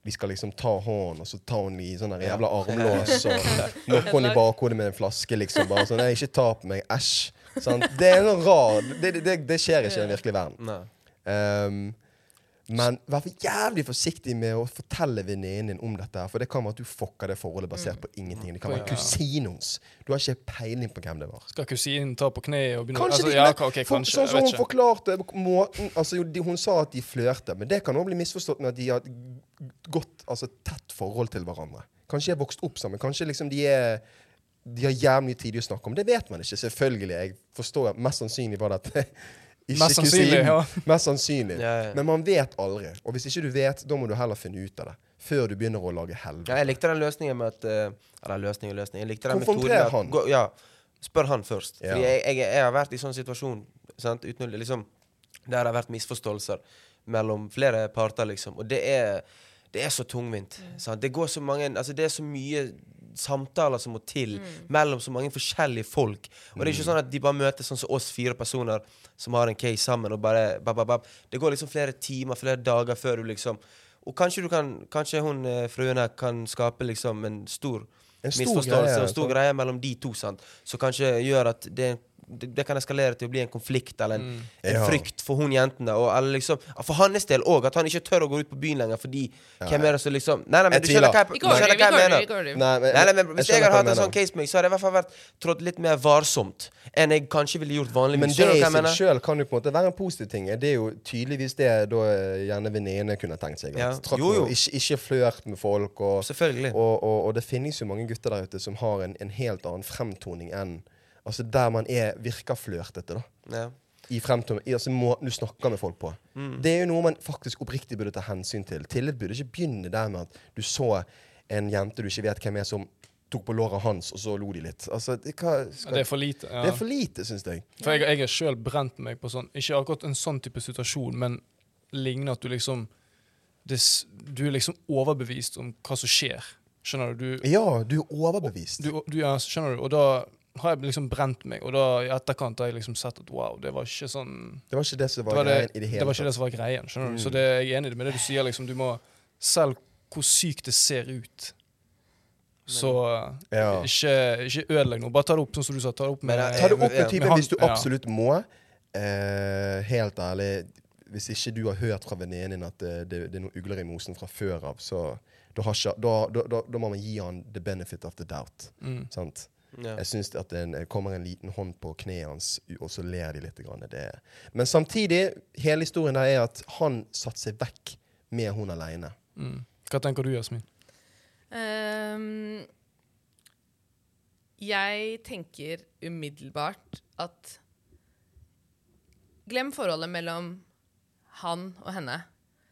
vi skal liksom ta hånden, og så ta henne i sånn der jævla armlås, og knokke henne i bakhodet med en flaske, liksom. Bare sånn Nei, ikke ta på meg. Æsj. Sant? Det er noe rar det, det, det, det skjer ikke i den virkelige verden. Nei. Ehm, men vær for jævlig forsiktig med å fortelle venninnen din om dette. her, For det kan være at du fucker det forholdet basert på ingenting. Det kan være Ja. kusinen hennes. Du har ikke peiling på hvem det var. Skal kusinen ta på kneet og begynne Kanskje altså, de- ja, men ok, for- kanskje, Sånn som hun jeg vet ikke. forklarte måten altså, jo, de, Hun sa at de flørter, men det kan også bli misforstått med at de har et g- godt, altså, tett forhold til hverandre. Kanskje de har vokst opp sammen. Kanskje liksom de er de har jævlig mye tid i å snakke om. Det vet man ikke, selvfølgelig. Jeg forstår at Mest sannsynlig var dette ikke Mest sannsynlig, kusinen. ja. Mest sannsynlig. Ja, ja. Men man vet aldri. Og hvis ikke du vet, da må du heller finne ut av det. Før du begynner å lage helvete. Ja, jeg likte den løsningen med at eh, Eller løsning og løsning. Jeg likte den Konfronter metoden med at, han. Gå, ja, spør han først. Ja. Fordi jeg, jeg, jeg har vært i sånn situasjon sant? Uten, å- liksom, der det har vært misforståelser mellom flere parter, liksom. Og det er, det er så tungvint. Sant? Det går så mange Altså, det er så mye samtaler som må til mellom så mange forskjellige folk. Og det er Mm. ikke sånn at de bare møtes sånn som oss fire personer som har en case sammen, og bare bab, bab, bab. Det går liksom flere timer, flere dager før du liksom og kanskje, du kan, kanskje hun eh, fruen her kan skape liksom en stor, En stor misforståelse greie, og en stor sant? greie mellom de to, sant? som kanskje gjør at det, det, det kan eskalere til å bli en konflikt eller en, en Mm. Ja. frykt for hun jenten. da, Og, eller liksom, for hans del òg, at han ikke tør å gå ut på byen lenger fordi Hvem er det som liksom Nei, nei, men Jeg du skjønner tviler. hva jeg, du Ikke overdriv, skjønner ikke hva jeg overdriv. mener. ikke overdriv. Nei, men- Nei, nei, men Hvis jeg skjønner hadde hva hatt en mener. sånn case med meg, så hadde jeg i hvert fall vært trådt litt mer varsomt enn jeg kanskje ville gjort vanlig. Men det Skjønner i du hva jeg seg mener? sjøl kan jo på en måte være en positiv ting. Det er jo tydeligvis det da eh, gjerne venninnene kunne tenkt seg. Ja. At trakk Jo, jo. noe- Ikke, ikke flørt med folk. Og, Selvfølgelig. og, og, og det finnes jo mange gutter der ute som har en, en helt annen fremtoning enn Altså der man er, virker flørtete, da. Ja. I fremtoning, i, altså måten du snakker med folk på. Mm. Det er jo noe man faktisk oppriktig burde ta hensyn til. Tillit burde ikke begynne der med at du så en jente du ikke vet hvem er, som tok på låret hans, og så lo de litt. Altså, det, hva, Ja, skal, Det er for lite. Ja. det er for lite, syns jeg. For jeg, jeg har sjøl brent meg på sånn Ikke akkurat en sånn type situasjon, men lignende at du liksom det, s- Du er liksom overbevist om hva som skjer. Skjønner du? Du, Ja, du er overbevist. du, du ja, skjønner du? Og da har jeg liksom brent meg, og da i etterkant har jeg liksom sett at wow, det var ikke sånn Det var ikke det som Det var, var, greien det, i det det, hele Mm. var ikke det som var greien. skjønner du? Så det, jeg er enig med det du sier. liksom, Du må Selv hvor sykt det ser ut, så Ja. eh, ikke, ikke ødelegg noe. Bare ta det opp sånn som du sa. ta det opp med... Men jeg- Ta det opp med Ja, typen men han- hvis du ja. absolutt må. Eh, helt ærlig, hvis ikke du har hørt fra venninnen din at eh, det, det, det er noen ugler i mosen fra før av, så da, har ikke, da, da, da, da må man gi han the benefit of the doubt. Mm, Sant? Ja. Jeg syns at det er en- kommer en liten hånd på kneet hans, u- og så ler de litt. Grann. Det. er- Men samtidig, hele historien der er at han satte seg vekk med hun aleine. Mm. Hva tenker du, Jasmin? Ehm, jeg tenker umiddelbart at Glem forholdet mellom han og henne.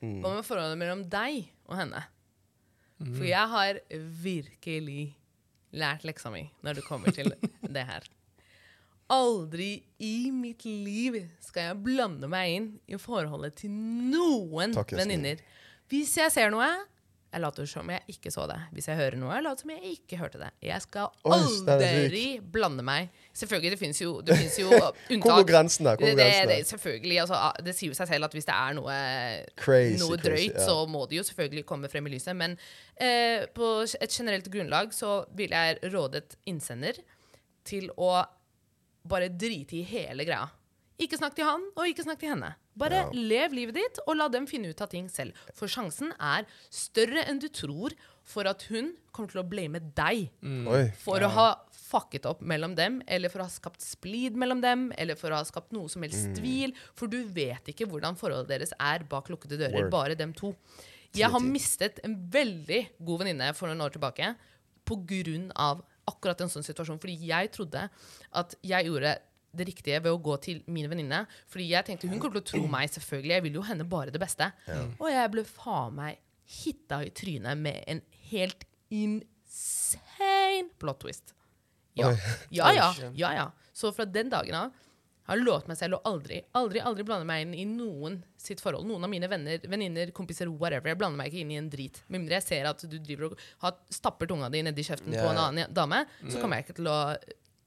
Hva med forholdet mellom deg og henne? For jeg har virkelig lært leksa mi når det kommer til det her. Aldri i mitt liv skal jeg blande meg inn i forholdet til noen Takk, Jasmin. venninner. Hvis jeg ser noe, Jeg later som jeg ikke så det. Hvis jeg hører noe, jeg later som jeg ikke hørte det. Jeg skal Oi, så det er aldri blande meg. Selvfølgelig, det fins jo, det finnes jo unntak. Hvor går grensen der? Hvor går Det, det, det, grensen der? selvfølgelig, altså, ah, det sier jo seg selv at hvis det er noe, Crazy, noe crazy, drøyt, ja. så må det jo selvfølgelig komme frem i lyset. Men eh, på et generelt grunnlag så ville jeg rådet innsender til å bare drite i hele greia. Ikke snakk til han, og ikke snakk til henne. Bare lev livet ditt, og la dem finne ut av ting selv. For sjansen er større enn du tror for at hun kommer til å blame deg Mm. Oi. for å ha fucket opp mellom dem, eller for å ha skapt splid mellom dem, eller for å ha skapt noe som helst tvil. For du vet ikke hvordan forholdet deres er bak lukkede dører. Word. Bare dem to. Jeg har mistet en veldig god venninne for noen år tilbake på grunn av akkurat en sånn situasjon. Fordi jeg trodde at jeg gjorde det riktige ved å gå til min venninne. Fordi jeg tenkte hun kommer til å tro meg, selvfølgelig. Jeg vil jo henne bare det beste. Og jeg ble faen meg hitta i trynet med en helt insane plot twist. Ja. Ja, ja, ja, ja. Så fra den dagen av har jeg lovet meg selv å aldri, aldri aldri blande meg inn i noen sitt forhold. Noen av mine venner, venninner, kompiser, whatever. Jeg blander meg ikke inn i en drit. Med mindre jeg ser at du driver og har, stapper tunga di nedi kjeften Ja, på en ja. Mm. annen dame, så kommer jeg ikke til å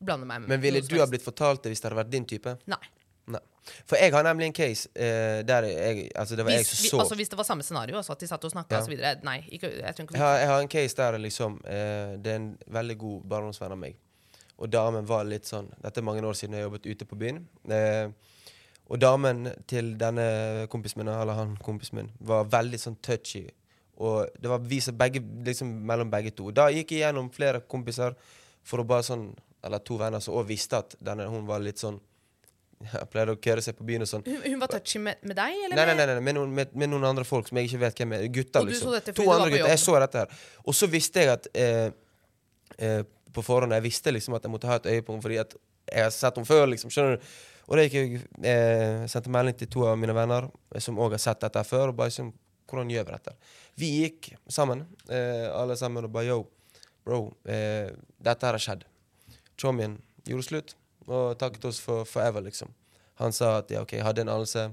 blande meg med Men ville noe som du ha helst. blitt fortalt det hvis det hadde vært din type? Nei. Nei. For jeg har nemlig en case eh, der jeg Altså, det var jeg Hvis, som vi, så altså, hvis det var samme scenario, altså at de satt og snakka Ja. og så videre Nei. Ikke, jeg tror ikke jeg har, jeg har en case der liksom eh, Det er en veldig god barndomsvenn av meg. Og damen var litt sånn Dette er mange år siden jeg jobbet ute på byen. Eh, og damen til denne kompisen min, eller han kompisen min, var veldig sånn touchy. Og det var vi som begge, liksom mellom begge to. Da gikk jeg gjennom flere kompiser for å bare sånn Eller to venner som også visste at denne, hun var litt sånn Pleide å køre seg på byen og sånn. hun, hun var touchy med, med deg, eller? Nei, nei, med- nei, nei, med, noen, med, med noen andre folk som jeg ikke vet hvem er. Gutter, Og du liksom. så dette fordi to du var andre på gutter. Jeg jobb? så dette her. Og så visste jeg at eh, eh, på forhånd Jeg visste liksom at jeg måtte ha et øye på henne fordi at jeg har sett henne før. liksom, skjønner du? Og da gikk jeg eh, sendte melding til to av mine venner eh, som òg har sett dette her før. og bare sånn, hvordan gjør vi dette? Vi gikk sammen, eh, alle sammen, og bare yo, bro, eh, dette her har skjedd. Chommien gjorde slutt og takket oss for forever, liksom. Han sa at ja, ok, jeg hadde en anelse.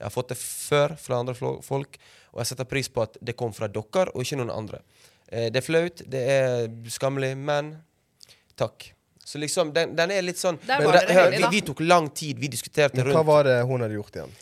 Jeg har fått det før fra andre flo- folk, og jeg setter pris på at det kom fra dere og ikke noen andre. Eh, det er flaut, det er skammelig, men takk. Så liksom, den, den er litt sånn Der Men var den- dere hør, heldige, vi, da. vi tok lang tid, vi diskuterte Men hva rundt. var det hun hadde gjort igjen?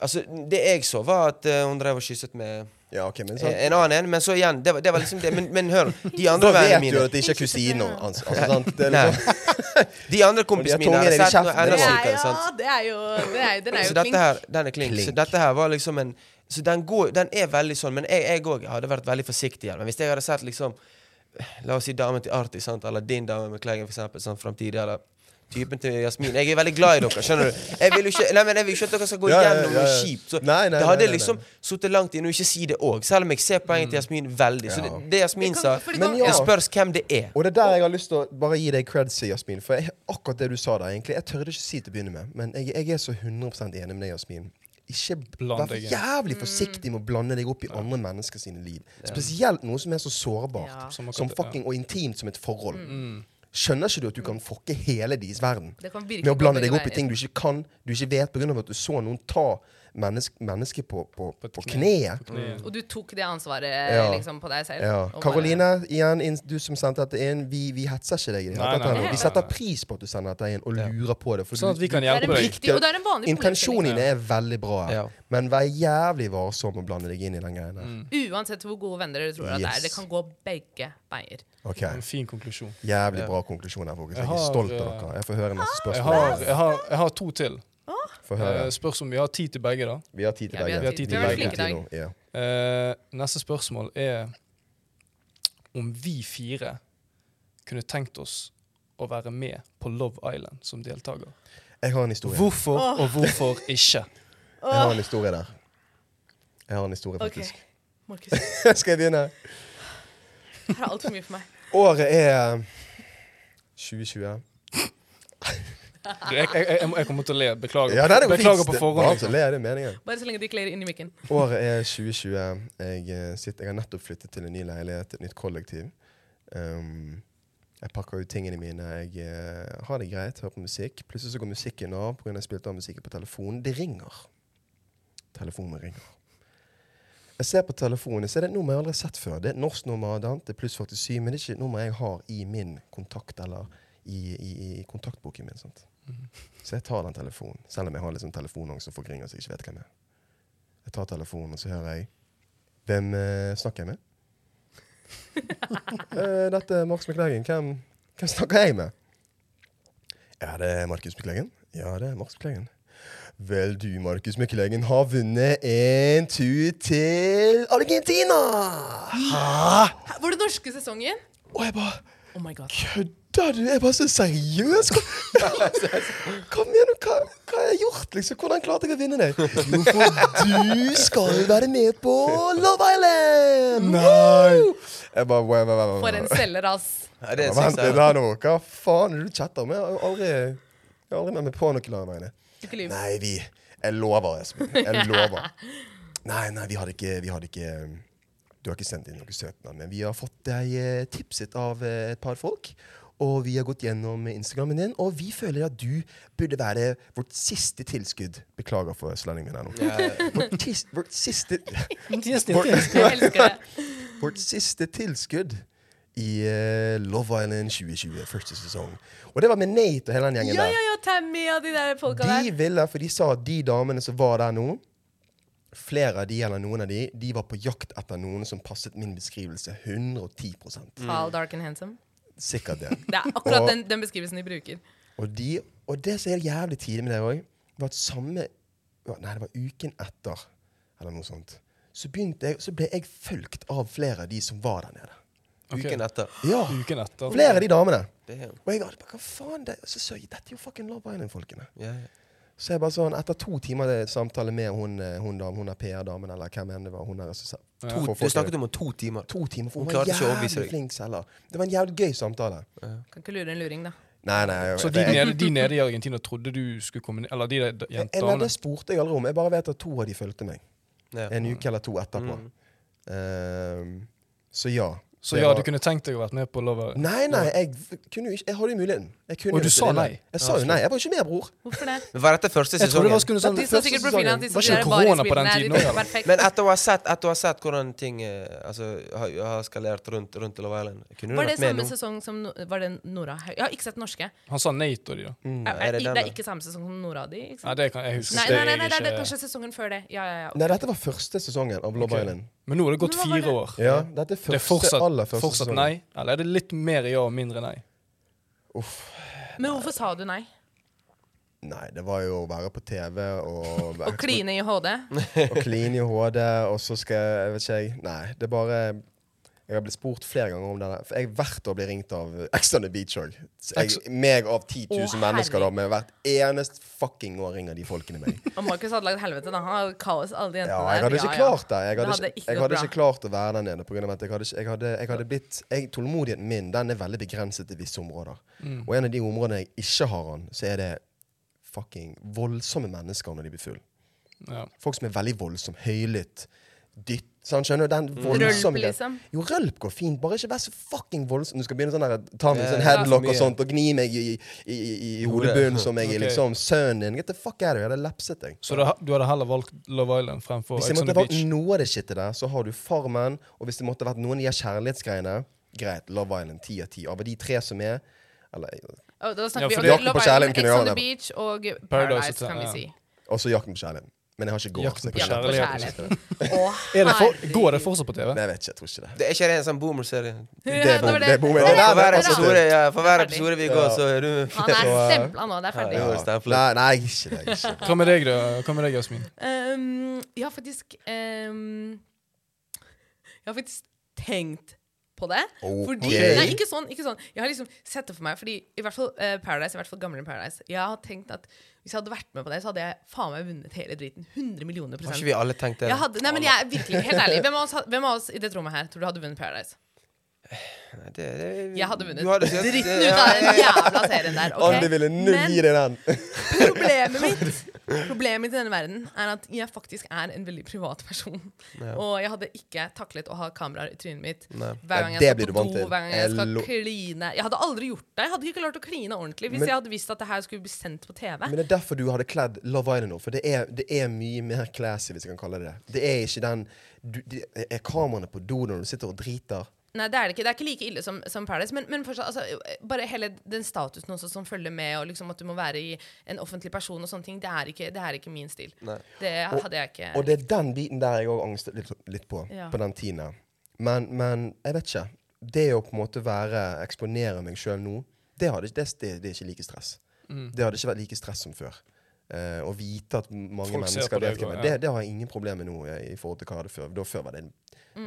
Altså, det jeg så, var at eh, hun drev og kysset med Ja, ok, men eh, sant? en annen en, men så igjen Det var, det var liksom det. Men, men hør, de Da andre vet vennene du mine at det ikke er kusina hans. Altså, sant? Det er Nei. liksom, De andre Og kompisene de har mine har tungen i sett noe kjeften, enda det var- sykere. sant? Ja, det er jo, det er, den er jo Så dette klink. her, den er klink. Så Klink. dette her var liksom en Så den, går, den er veldig sånn, men jeg, jeg også hadde vært veldig forsiktig igjen. Men hvis jeg hadde sett liksom La oss si damen til Arti, sant? eller din dame med Kleigen, for eksempel, sånn framtidig, eller typen til Jasmin Jeg er veldig glad i dere, skjønner du? Jeg vil jo ikke, nei, men jeg vil ikke at dere skal gå Ja, ja, gjennom ja, noe ja. kjipt. Så Nei, nei, det hadde nei, nei, liksom sittet langt inne å ikke si det òg, selv om jeg ser poenget til Jasmin veldig. Så det, det Det Jasmin kan- sa, for det Men kan- ja. det spørs hvem det er. og det er der jeg har lyst til å bare gi deg creds, Jasmin. For jeg, akkurat det du sa der, egentlig. Jeg tørde ikke si til å begynne med, men jeg, jeg er så 100 enig med deg, Jasmin. Ikke Bland Vær deg inn. jævlig forsiktig med å blande deg opp i andre mennesker sine liv. Spesielt noe som er så sårbart Ja. Som som akkurat- fucking, og intimt som et forhold. Skjønner ikke du at du kan fucke hele deres verden Det kan virkelig med å gå blande begge deg opp i veier. ting du ikke kan, du ikke vet, pga. at du så noen ta mennesk, mennesket på, på, På et på Mm. kne. kneet? Kneet. Og du tok det ansvaret Ja. liksom, på deg selv. Ja. og bare- Karoline, igjen, inn- du som sendte dette inn. Vi, vi hetser ikke deg. i det hele Nei, tatt nei, her nå. nei, nei, Vi setter nei. pris på at du sender dette inn, og lurer på det. for Sånn at du- vi kan Det er en hjelpe deg. viktig, og det er en vanlig problemstilling. Intensjonene er veldig bra, her, Ja. men vær jævlig varsom med å blande deg inn i den greia der. Mm. Uansett hvor gode venner dere tror at det er. Yes. Det kan gå begge veier. Ok. En fin konklusjon. Jævlig bra konklusjon her, folkens. Jeg Jeg er har, stolt av eh, dere. Jeg får høre masse Jeg spørsmål. har, jeg har, jeg har to til. Få høre. Eh, spørs om vi har tid til begge, da. Vi har tid til Ja, vi begge. har tid. Vi har har en flink god tid dag. nå, ja. Eh, neste spørsmål er om vi fire kunne tenkt oss å være med på Love Island som deltaker. Jeg har en historie. Hvorfor og hvorfor ikke? Jeg har en historie der. Jeg har en historie, Ok, faktisk. Markus. Her Skal jeg begynne? er altfor mye for meg. Året er 2020. Du, Jeg, jeg, jeg, jeg kommer til å le. Beklager. Ja, det er jo Beklager fint. på Det- forhånd. Bare liksom. så ler, det er meningen. Bare så lenge du ikke ler inn i mikken. Året er 2020. Jeg, eh, sitter, jeg har nettopp flyttet til en ny leilighet, et nytt kollektiv. Um, jeg pakker ut tingene mine. Jeg eh, har det greit, hører på musikk. Plutselig så går musikken av pga. at jeg spilte av musikken på telefonen. Det ringer. Telefonen ringer. Jeg ser på telefonen, så er det et nummer jeg aldri har sett før. Det er et norsk nummer, annet, det er pluss 47, men det er ikke et nummer jeg har i min kontakt eller i, i, i kontaktboken min. Sant? Så jeg tar den telefonen, selv om jeg har liksom telefonangst og forgringer så jeg ikke vet hvem jeg er. Jeg tar telefonen, og så hører jeg Hvem eh, snakker jeg med? eh, dette er Marks McLeggen. Hvem, hvem snakker jeg med? Ja, det er Markus McLeggen. Ja, det er Markus McLeggen. Vel, du, Markus McLeggen, har vunnet en tur til Argentina! Hæ? Var det norske sesongen? Og jeg bare Oh my god. Kødder du? Jeg er bare så seriøs! Hva, hva mener du? Hva, hva har jeg gjort? liksom? Hvordan klarte jeg å vinne det? Jo, for du skal være med på Love Island! Nei! Jeg bare, wow, wow, wow, wow. For en selger, ass. Ja, det er Ja, en Vent sekser. litt her nå. Hva faen er det du chatter med? Jeg har aldri, jeg har aldri med meg på noe lag med henne. Ikke lyv. Nei, vi Jeg lover, Espen. Jeg lover. Nei, nei, vi hadde ikke, vi hadde ikke eh, Du har ikke sendt inn noen søknad, men vi har fått deg eh, tipset av eh, et par folk. Og vi har gått gjennom Instagrammen din, og vi føler at du burde være vårt siste tilskudd. Beklager for slendingen min her nå. Vårt, tis, vårt siste Jeg elsker det. Vårt siste tilskudd i eh, Love Island 2020, første sesong. Og det var med Nate og hele den gjengen Ja, der. ja, ja, Tammy og de der folka De der. ville, for de sa at de damene som var der nå, flere av de eller noen av de, de var på jakt etter noen som passet min beskrivelse 110 Tall, Mm. dark and handsome. Sikkert det. Det er akkurat Og- den, den beskrivelsen de bruker. Og, de, og det som er helt jævlig tidlig med det òg, var at samme Nei, det var uken etter, eller noe sånt, så, begynte jeg, så ble jeg fulgt av flere av de som var der nede. Ok. Uken etter. Ja, Uken etter. Flere av de damene. Det er, Og jeg hadde bare, hva faen, det, så, så, dette er jo fucking Love Island-folkene. ja, ja. Så jeg bare sånn, etter to timer det samtale med hun, eh, hun, dam, hun er PR-damen, eller hvem enn det var hun er regissør. To, For- for- du snakket om om to timer. to timer, for Hun hun, var klarte ikke å overbevise jævlig deg. flink selger. Det var en jævlig gøy samtale. Kan ikke lure en luring, da. Nei, nei. Jeg, Så de jeg, jeg, nede, de nede i Argentina trodde du skulle komme ned Eller de der d- jeg, nei, jentene? det spurte jeg aldri om. Jeg bare vet at to av de fulgte meg. Ja. En uke eller to etterpå. Ehm, så ja. Mm. Så Det ja, var- du kunne tenkt deg å vært med på Love Island? Nei, nei, jeg f- kunne jo ikke Jeg hadde jo muligheten. Jeg kunne Og du jo sa stille. nei? Jeg sa jo nei. Jeg var ikke med, bror. Hvorfor det? Men Var dette første Jeg trodde det sesongen? var skulle Ja, sånn De første så sikkert profilen at de Var som ikke der korona på den barisbildene tiden er de også, tok eller? perfekt. Men etter å ha sett, etter å ha sett hvordan ting eh, altså, har, har skalert rundt, rundt Love Island Kunne du Var det vært med samme nå? sesong som No- Var det Nora Haug? Jeg har ikke sett norske. Han sa Nate og de, da. Mm. Er, er er, det i- det den, da? er ikke samme sesong som Nora di? Nei, ikke sant? det kan jeg husker Nei, det nei, nei, jeg nei, det ikke- er kanskje sesongen før det. Ja, ja, ja. Nei, dette var første sesongen av Love Ok. Island. Men nå har det gått Men hva var fire år. Ja, dette er første, Det er fortsatt, aller første fortsatt sesongen. nei? Eller er det litt mer ja og mindre nei? Men hvorfor sa du nei? Nei, det var jo å være på TV og Å kline i HD? og clean i HD, og så skal jeg Jeg vet ikke, jeg. Nei, det er bare Jeg har blitt spurt flere ganger om det. der, For jeg hvert år blir ringt av eh, Ex on the Beach òg. Meg av 10 000 Å, mennesker, da, men hvert eneste fucking år ringer de folkene meg. Og Markus hadde lagd helvete. Da. Han hadde kaos, alle de Ja, jentene jeg hadde Ja, ikke ja. klart det. Jeg Det hadde, hadde ikke, ikke jeg gått hadde bra. ikke klart å være der nede. På grunn av at jeg hadde, ikke- jeg hadde, jeg hadde blitt, jeg, tålmodigheten min den er veldig begrenset til visse områder. Mm. Og en av de områdene jeg ikke har den, så er det fucking voldsomme mennesker når de blir full. Ja. Folk som er veldig voldsomme, høylytt, dytt sånn, Skjønner du? Den voldsomme Rølp, liksom. Jo, rølp går fint, bare ikke vær så fucking voldsom. Du skal begynne sånn der, ta meg i sånn Ja, headlock for mye. og sånt og gni meg i, i, i, i hodebunnen som jeg Ok. er liksom sønnen din. Get the fuck out of here. Jeg hadde lepset deg. Så du, ha- du hadde heller valgt Love Island fremfor Hvis Ex on det the måtte vært Beach? noe av det shitet der, så har du Farmen. Og hvis det måtte vært noen av de her kjærlighetsgreiene, greit. Love Island, ti av ti. Av de tre som er Eller Og Ja, da snakker for vi det- om Love på kjærligheten Island, kunne jeg Ex on ha det. the Beach og Paradise, Paradise kan vi Hotel, si. også Jakten på kjærligheten. Men jeg har ikke gått. Jakten så på jeg kan- Jakten på Kjærlighet. liksom. kjærligheten. Å, Er det for, herregud. går det fortsatt på TV? Nei, jeg vet ikke. Jeg tror ikke det. Det er ikke det en sånn boomer-serie? Det Ja, er bom- var det er bom- For det er- hver det er- episode, ja, for hver Ferdig. episode vi går, så er du Han er stempla nå. Det er ferdig. Ja. Stemple. Nei, nei, ikke det. Ikke. det. Hva med deg, da? Hva med deg, Jasmin? Um, jeg har faktisk um, Jeg har faktisk tenkt på det. Ok. Fordi, nei, ikke sånn, ikke sånn. Jeg har liksom sett det for meg. Fordi i hvert fall eh, Paradise, i hvert fall gamle Paradise Jeg har tenkt at Hvis jeg hadde vært med på det, så hadde jeg faen meg vunnet hele driten. 100 millioner Har prosent. ikke vi alle tenkt det? Jeg hadde, nei, men jeg er virkelig helt ærlig. Hvem av oss, had- hvem av oss i dette rommet her tror du hadde vunnet Paradise? Nei, det, det, Jeg hadde vunnet Du hadde sikkert- dritten ja, ut av ja, den ja. jævla serien der. ok? Alle ville null Men gi deg den. problemet mitt Problemet mitt i denne verden er at jeg faktisk er en veldig privat person. Ja. Og jeg hadde ikke taklet å ha kameraer i trynet mitt Nei. hver gang Ja, jeg det blir skal du på vant do. til. Hver gang jeg skal Hello. kline Jeg hadde aldri gjort det. Jeg hadde ikke klart å kline ordentlig hvis Men- jeg hadde visst at det her skulle bli sendt på TV. Men det er derfor du hadde kledd Love Island nå. For det er, det er mye mer classy, hvis jeg kan kalle det det. Det er ikke den du, det Er kameraene på do når du sitter og driter? Nei, det er det ikke. Det er ikke like ille som, som Paradise. Men, men fortsatt, altså, bare hele den statusen også som følger med, og liksom at du må være i en offentlig person og sånne ting, det er ikke, det er ikke min stil. Nei. Det Og- hadde jeg ikke. Og det er den biten der jeg òg angstet litt, litt på. Ja. På den tiden. der. Men, men jeg vet ikke. Det å på en måte være, eksponere meg sjøl nå, det, hadde, det, det, det er ikke like stress. Mm. Det hadde ikke vært like stress som før. Eh, å vite at mange Folk ser på mennesker deg vet hvem og- jeg er. ja. det, det har jeg ingen problemer med nå. eh, i forhold til hva jeg hadde før. Da før var det,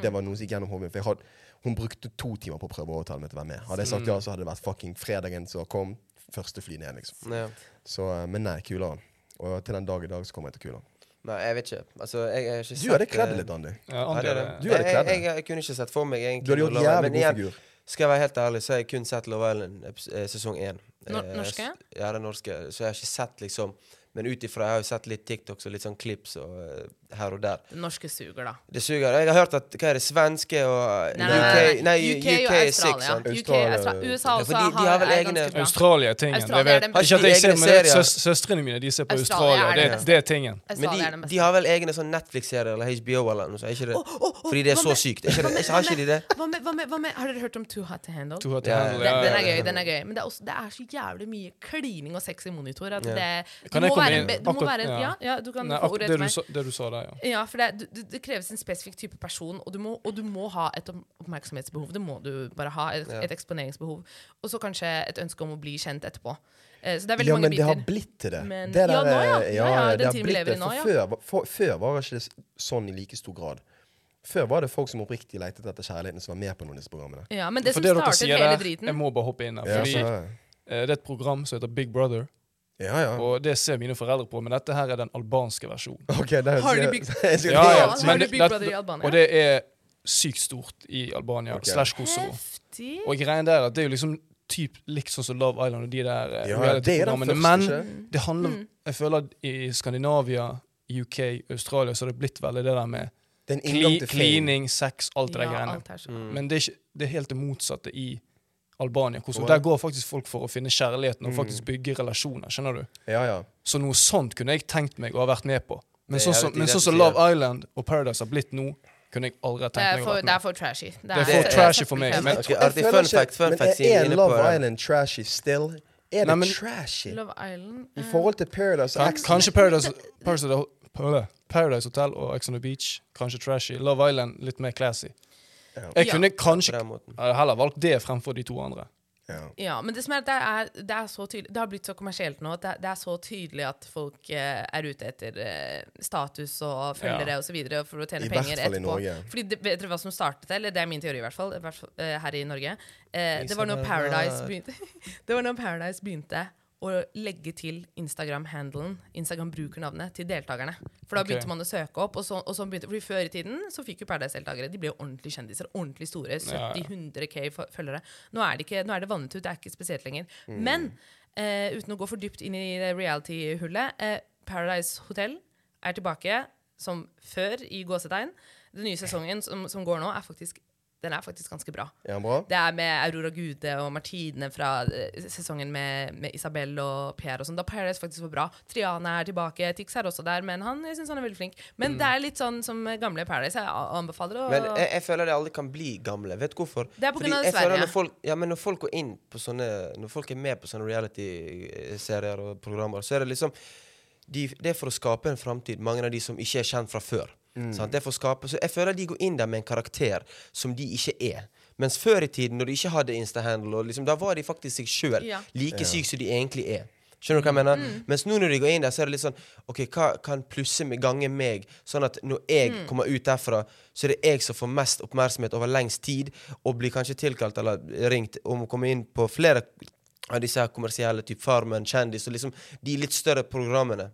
det var noe som gikk gjennom hodet mitt. For jeg hadde, hun brukte to timer på å prøve å overtale meg til å være med. Hadde jeg sagt ja, så hadde det vært fucking fredagen som kom. Første fly ned, liksom. Ja. Så, eh, men nei, Kulan. Og til den dag i dag så kommer jeg til Kulan. Nei, jeg vet ikke. Altså, jeg har ikke Du hadde sett, kledd eh, deg litt, Andy. Ja, Ja, Andy, det er er- det. Du hadde kledd jeg, deg. jeg, jeg kunne ikke sett for meg egentlig Du hadde gjort Love Island, jævlig men igjen, god figur. Skal jeg være helt ærlig, så har jeg kun sett Love Island eps- eh, sesong én. Nor- Eh, norske? s- Ja, den norske. Så jeg har ikke sett, liksom. Men ut ifra Jeg har jo sett litt TikToks og litt sånn klips og eh, her og der. Den norske suger, da. Det suger. Jeg har hørt at hva er det, svenske og eh, Nei, UK nei, nei, nei. UK, er sick, sant? UK, Australia- Austra- USA Ja, for også de- de har, har vel er egne- ganske bra. Australia er tingen. Australia Jeg er vet, den ikke beste. at jeg ser, Egne men det er serier. søs- søstrene mine de ser på Australia Australia. er Det, den beste. det er tingen. Men Australia er den de, de beste. har vel egne sånn Netflix-serier eller HBO eller noe sånt? er Ikke det? Fordi det er hva så med- sykt. Er Ikke det? Har ikke de det? Hva med, hva med, hva med, har dere hørt om Too Hot to Handle? To har til Ja, ja, handle, Den, ja, den ja, er ja. gøy, den er gøy. Men det er, også, det er så jævlig mye klining og sex i monitor. At Ja. det, du Kan må jeg komme være, inn? be- du må Akkurat- være ja. ja. ja, du kan Nei, få ak- ordet det, etter du meg. sa, det du sa der, ja. Ja, for det, er- du- du, det kreves en spesifikk type person, og du, må, og du må ha et om- oppmerksomhetsbehov. Det må du bare ha. Et, Ja. et eksponeringsbehov. Og så kanskje et ønske om å bli kjent etterpå. Eh, så det er veldig Ja, mange men det biter. har blitt til det. Men- det Ja, nå, ja. eh, Ja, ja, den det har tiden vi blitt lever i det. nå, ja. For før, var- for, før var det ikke det s- sånn i like stor grad. Før var det folk som oppriktig lette etter kjærligheten, som var med på noen av disse programmene. Ja, men det For som det dere startet sier hele der, driten jeg må bare hoppe inn her. Ja, Fordi så- eh, Det er et program som heter Big Brother, ja. ja. og det ser mine foreldre på, men dette her er den albanske versjonen. Ok, der, Har de jeg- bygd- jeg skulle- Ja, ja, Har du men Big det- Brother i Albania? Og det er sykt stort i Albania Ok. slash Kosovo. Heftig! Og greien der er at det er jo liksom typ likt sånn som Love Island og de der eh, Ja, ja, det er den reality-programmene. første, Men ikke? det handler Jeg føler at i Skandinavia, UK, Australia så har det blitt veldig det der med Det er en kli, inngang til Mm. fame. klining, sex, alt det der Ja, greiene. Mm. alt er så bra. Men det er, ikke, det er helt det motsatte i Albania. Kosovo. Wow. Mm. Der går faktisk folk for å finne kjærligheten og faktisk bygge relasjoner. skjønner du? Ja, ja. Så noe sånt kunne jeg tenkt meg å ha vært med på. Men Det er sånn som jævlig men rett sånn å som si, Love Island og Paradise har blitt nå, kunne jeg aldri ha Det tenkt er meg å for, ha vært det er med. for trashy. Det er for trashy for meg, Ja, men- Ok, Jeg Artig, føler fun ikke- fact, fun men fact, siden vi er er inne på Love det. Island trashy still? Er Nei, det men- trashy? Love Island I eh, forhold til Paradise Kan, X kanskje Paradise, Paradise, Hotel- Paradise Hotel og Ex on the Beach, kanskje trashy. Love Island litt mer classy. Jeg Ja. kunne På kanskje den jeg måten. hadde heller valgt det fremfor de to andre. ja. Ja, men det som er at det er, det er så tydelig Det har blitt så kommersielt nå at det, det er så tydelig at folk eh, er ute etter eh, status og følgere Ja. og så videre for å tjene I hvert penger fall i etterpå. Norge. Fordi det, Vet dere hva som startet det? Eller det er min teori, i hvert fall, i hvert fall eh, her i Norge. Eh, det var når Paradise begynte Det var når Paradise begynte å legge til Instagram-handelen, Instagram-brukernavnet, til deltakerne. For da Ok. begynte man å søke opp. Og så, og så begynte, fordi Før i tiden så fikk jo Paradise-deltakere De ble jo ordentlig kjendiser. Ordentlig store. Ja, ja. 70-100K følgere. Nå er, det ikke, nå er det vannet ut. Det er ikke spesielt lenger. Mm. Men eh, uten å gå for dypt inn i det reality-hullet eh, Paradise Hotel er tilbake som før, i gåsetegn. Den nye sesongen som, som går nå, er faktisk, den er faktisk ganske bra. Er han bra? Det er med Aurora Gude og Martine fra eh, sesongen med, med Isabel og Pierre og sånn. Da Paradise faktisk var bra. Triana er tilbake. Tix er også der, men han, jeg synes han er veldig flink. Mm. Men det er litt sånn som gamle Paradise. Jeg a- anbefaler å Men eh, jeg, jeg føler de aldri kan bli gamle. Vet du hvorfor? Det er på Fordi grunn av jeg føler Sverige. Når folk, ja, men når folk går inn på sånne Når folk er med på sånne reality-serier og programmer, så er det liksom de, Det er for å skape en framtid, mange av de som ikke er kjent fra før. Sant? Det er for å skape, så jeg føler de går inn der med en karakter som de ikke er. Mens før i tiden, når de ikke hadde Insta-handle, og liksom, da var de faktisk seg sjøl. Ja. Like syk som de egentlig er. Skjønner du hva jeg mener? Mens nå når de går inn der, så er det litt sånn OK, hva kan plusse med gange meg, sånn at når jeg kommer ut derfra, så er det jeg som får mest oppmerksomhet over lengst tid, og blir kanskje tilkalt eller ringt om å komme inn på flere av disse her kommersielle, typ Farmen, Kjendis, og liksom de litt større programmene.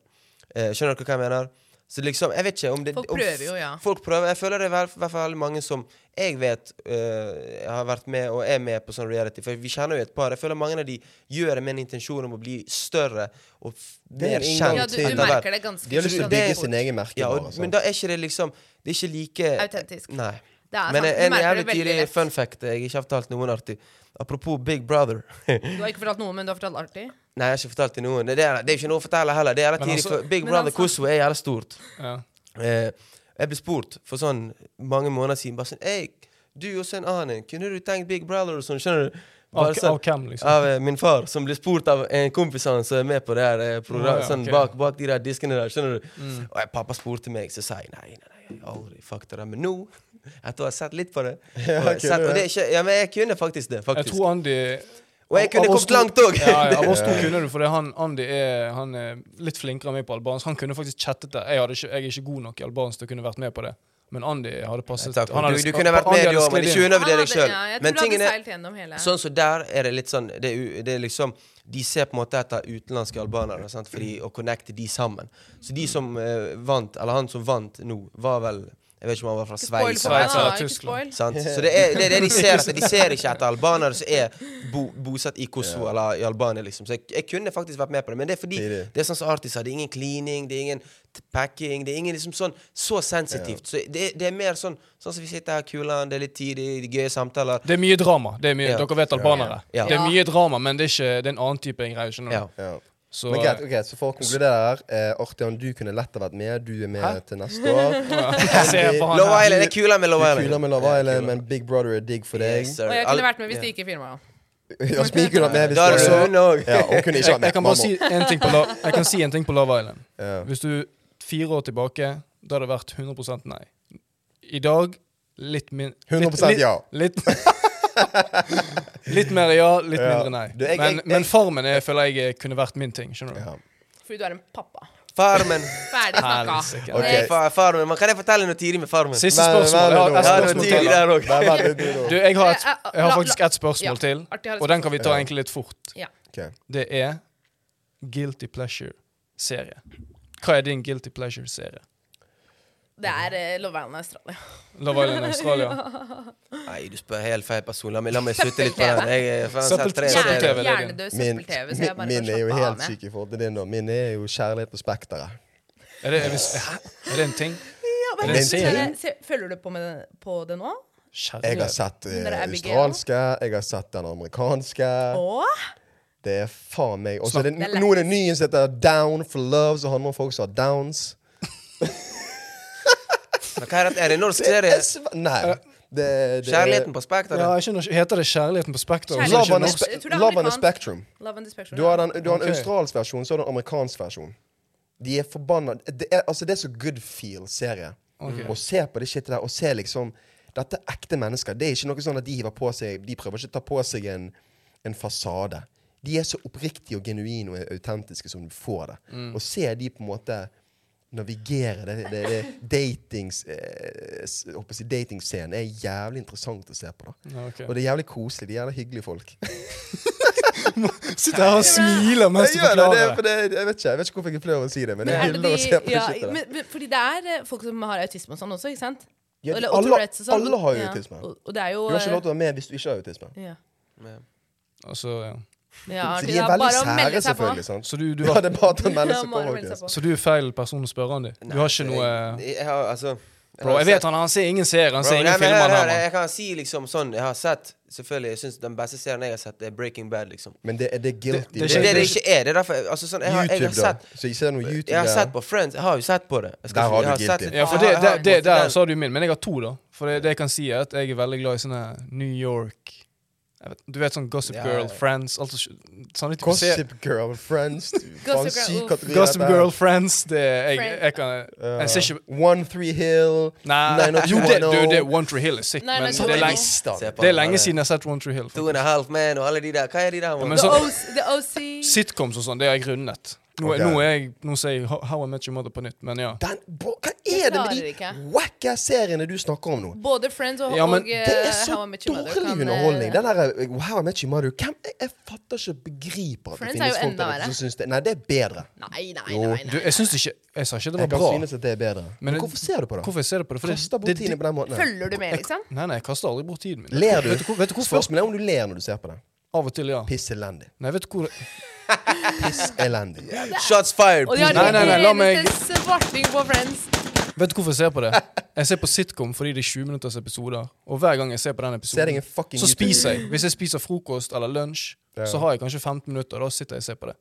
Eh, skjønner dere hva jeg mener? Så liksom, jeg vet ikke om det Folk om prøver jo, ja. Folk prøver. Jeg føler det er i hvert fall veldig mange som jeg vet øh, har vært med og er med på sånn reality. For vi kjenner jo et par. Jeg føler mange av de gjør det med en intensjon om å bli større og f- Det er mer en kjent. Ja, du, ting. du etter hvert. merker det Sånn. ganske De har lyst til å sånn bygge fort. sin egen altså. merke. Ja, bare, og, sant? men da er ikke det liksom Det er ikke like Autentisk. Nei. Det er Men sant. Du en merker jævlig det veldig tidlig lett. fun fact jeg ikke har fortalt noen artig. Apropos Big Brother. Nei, Du har ikke fortalt noe, men du har fortalt artig. jeg har ikke fortalt til noen. Det er, det er ikke noe å fortelle heller. Det er jævlig Men tidlig, altså- for Big Men Brother altså- Kosovo er jævlig stort. Ja. Eh, jeg ble spurt for sånn mange måneder siden bare sånn Ei, du og så en annen, kunne du tenkt Big Brother og sånn, skjønner du? Bare Av, sånn, av hvem, liksom? av eh, min far, som ble spurt av en kompis av han som er med på det her eh, Å, programmet, Ah, ja, Mm. sånn ok. bak, bak de der diskene der, skjønner du? Og jeg, pappa spurte meg, så sa jeg nei, nei, nei, aldri fuck det der, men nå, etter å ha sett litt på det, Ja, og kunne jeg sett, og det. det er ikke, ja, men jeg kunne faktisk det, Jeg faktisk. tror Andy Og jeg av- kunne av oss kommet to- langt òg. Ja, ja, av oss to kunne du, for det, han, Andy er, han er litt flinkere enn meg på albansk. Han kunne faktisk chattet det. Jeg, hadde ikke, jeg er ikke god nok i albansk til å kunne vært med på det. Men Andy hadde passet Takk, han hadde du, du sk- kunne vært Andy med, hadde du òg, men sklidd ikke inn. Han undervurder hadde- deg sjøl. Ah, ja, jeg tror Men du hadde tingen er seilt gjennom hele. Sånn så der er det litt sånn det er, u- det er liksom De ser på en måte etter utenlandske albanere sant? Fordi Mm. å connecte de sammen. Så de som eh, vant, eller han som vant nå, var vel Jeg vet ikke om han var fra Ikke spoil Sveits. for meg, Sveits da. eller Ikke Tyskland. spoil. Sant? Så det er, det er det de ser etter. De ser ikke etter albanere som er bo, bosatt i Kosovo eller i Albania. liksom. Så jeg, jeg kunne faktisk vært med på det, men det er fordi det, Tidlig. er sånn som Artis sa, det er ingen cleaning, det er ingen t- packing, det er ingen liksom sånn så sensitivt. Så det, er- det er mer sånn sånn som vi sitter her, kulene, det er litt tid, det er gøye samtaler. Det er mye drama. Det er mye, Ja. Dere vet albanere. Ja. Det er Ja. mye drama, men det er, ikke, det er en annen type greier. skjønner Ja. du? Ja. Så, Men greit, ok, så for å konkludere her eh, Artian, du kunne lett ha vært med. Du er med til neste år. Jeg ser på han Love her. Island er kulere med Du Love Island. kuler med Love Island, men Big Brother er digg for deg. Yes, sir. Og jeg Alle- kunne vært med hvis Ja. de ikke filma. Jasmin kunne vært med hvis Da er det det var- hun også. Ja, hun kunne ikke Jeg, vært med. jeg kan bare si en ting på, Lo- jeg kan si en ting på Love Island. Ja. Hvis du fire år tilbake, da hadde det vært 100 nei. I dag litt min... litt- 100% ja. Litt, litt, litt mer ja, litt Ja. mindre nei. Du, jeg- men, jeg- men Farmen er, føler jeg eh, kunne vært min ting. skjønner du? Ja. Fordi du er en pappa. Farmen. Ferdig Eh, snakka. Helsike. Ok. Next. Fa- farmen. Men kan jeg fortelle noe tidlig med Farmen? Siste Vær- vær spørsmål. det Jeg har, jeg har nå. Ja, det spørsmål var tidlig til. der også. Nei, vent litt nå. Du, jeg har, et, Eh, eh, jeg har la- faktisk la- ett spørsmål ja. til, Artig, har et og den kan vi ta spørsmål. egentlig litt fort. Ja. Ok. Det er Guilty Pleasure-serie. Hva er din Guilty Pleasure-serie? Det er eh, Love Island Australia. Love Island Australia. Nei, du spør helt feil person. La meg, la meg sutte litt på den. Jeg er faen Søppel- selv tre- søppel-tv, det er Hjerne- det. Hjernedød Min, søppel-TV. Så jeg min, bare min er jo slappe av helt med. syk i forhold til din. nå. Min er jo kjærlighet på spekteret. Er det, er, vi, hæ? er det en ting? Ja, men Er det en se- serie? se- Følger du på, med, det- på det nå? Jeg har Kjærlighet. sett eh, Men det er Abigail. australske, jeg har sett den amerikanske. Åh, Det er faen meg Og så er det Snakk. nå er det en ny som heter Down for love, som handler om folk som har downs. Men hva er det? Er det en norsk Det serie? er sv- Nei. Det, er- det, Kjærligheten på Ja, spekteret? jeg skjønner ikke. Heter det Kjærligheten på Spektrum? Kjærlighet- Love on a Jeg tror det spe er love on a amerikansk. spectrum. Love and Dispatch. Du har den, du har en Ok. australsk versjon, så har du en amerikansk versjon. De er forbanna det er, altså, det er så good feel-serie. Å se på det shitet der, og se liksom Dette er ekte mennesker. Det er ikke noe sånn at de hiver på seg De prøver ikke å ta på seg en, en fasade. De er så oppriktige og genuine og autentiske som du får det. Mm. Og se de på en måte navigere det, det, det datings... Eh, s- jeg håper å si datingscenen er jævlig interessant å se på. da Ja, ok. Og det er jævlig koselig. De er jævlig hyggelige folk. Sitter her og smiler mens du Jeg gjør det, det, forklarer er- for det. det, jeg, vet ikke, jeg vet ikke hvorfor jeg ikke flere å si det, men Men jeg er det hyller å se på de, det ja, shitet der. men, men, fordi det er eh, folk som har autisme og sånn også, ikke sant? Ja, de- Eller- og alle, Tourettes og sånn. alle har jo Ja, autisme. Og, og det er jo Du har ikke lov eh, til å være med hvis du ikke har autisme. ja. Altså, ja. Ja, Så det de er veldig bare å melde sære, seg på. selvfølgelig. sant? Så du, du, Ja, har, det er bare at han melder Ja, seg på. bare å melde Markus. seg på. så du er feil person å spørre, Andy? Du har ikke noe Jeg, jeg har altså jeg Bro, har jeg sett- vet han, han ser ingen serier, han Bro, ser nei, ingen men filmer. hør, han hør, her, Jeg kan si liksom sånn Jeg har sett Selvfølgelig, jeg synes den beste serien jeg har sett, er Breaking Bad. liksom Men det, er- det er guilty. Det- Det er er det det ikke- ikke er. Det er derfor jeg- altså, sånn, jeg, har, jeg, har YouTube, da. sett, Så ikke se noe YouTube jeg har sett der. på Friends. Jeg har jo sett på det. Jeg Der har jeg du guilty. Ja, for det, Jeg har- det, jeg har det, på en måte Der den- sa du min, men jeg har to, da. For det, det jeg kan si, er at jeg er veldig glad i sånne New York jeg vet, Du vet sånn Gossip Ja, Girl, ja. Friends altså sånn alt så- Sånne type serier. Gossip Girl, Friends du, faen, Girl, syk uff. kategori, Gossip dette her. Girl, Friends det, er- jeg, Friends. jeg kan Jeg ser ikke Ja. One Three Hill Nei, jo, det, du, det, One Tree Hill er sick, Nei, nei, men så- det er, lenge, Se på det er den, lenge alle- siden jeg har sett One Tree Hill. Two and a half man og alle de der. Hva er de der? men man? The så- O- The OC. Sitcoms og sånn, det har jeg rundet. Nå, Ok. nå, er jeg, nå sier jeg How- How I Met Your Mother på nytt, men ja. Den, bro, hva er det med klarer ikke. de wacka-seriene du snakker om nå? Både Friends og, Ja, men og eh, Det er så How I Met Your dårlig Mother kan, eh, underholdning. Den der eh, Wow, I Met Your Mother Hvem, jeg, jeg fatter ikke, begriper at det Friends er finnes jo folk enda der ute verre. som syns det Nei, det er bedre. Nei, nei, Jo. nei. nei. Du, jeg syns ikke Jeg sa ikke det var Jeg kan bra. synes at det er bedre. Men, det- hvorfor ser du på det? Hvorfor jeg ser du på det? For det- Kaster det- bort tiden på den måten. der. Følger du med, liksom? Nei, nei, jeg kaster aldri bort tiden min. Ler du? Vet du, hvor- vet du hvorfor? Spørsmålet er om du ler når du ser på det. Av og til, ja. Piss elendig. Nei, vet du hvor Piss elendig. Shots fired! Og de har Nei, nei, nei, la den meg- eneste svarting på Friends. Vet du hvorfor jeg ser på det? Jeg ser på sitcom fordi det er 20 minutters episoder. Og hver gang jeg ser på den Se episoden, deg en fucking så YouTube. spiser jeg. Hvis jeg spiser frokost eller lunsj, så har jeg kanskje 15 minutter. Da sitter jeg og ser på det.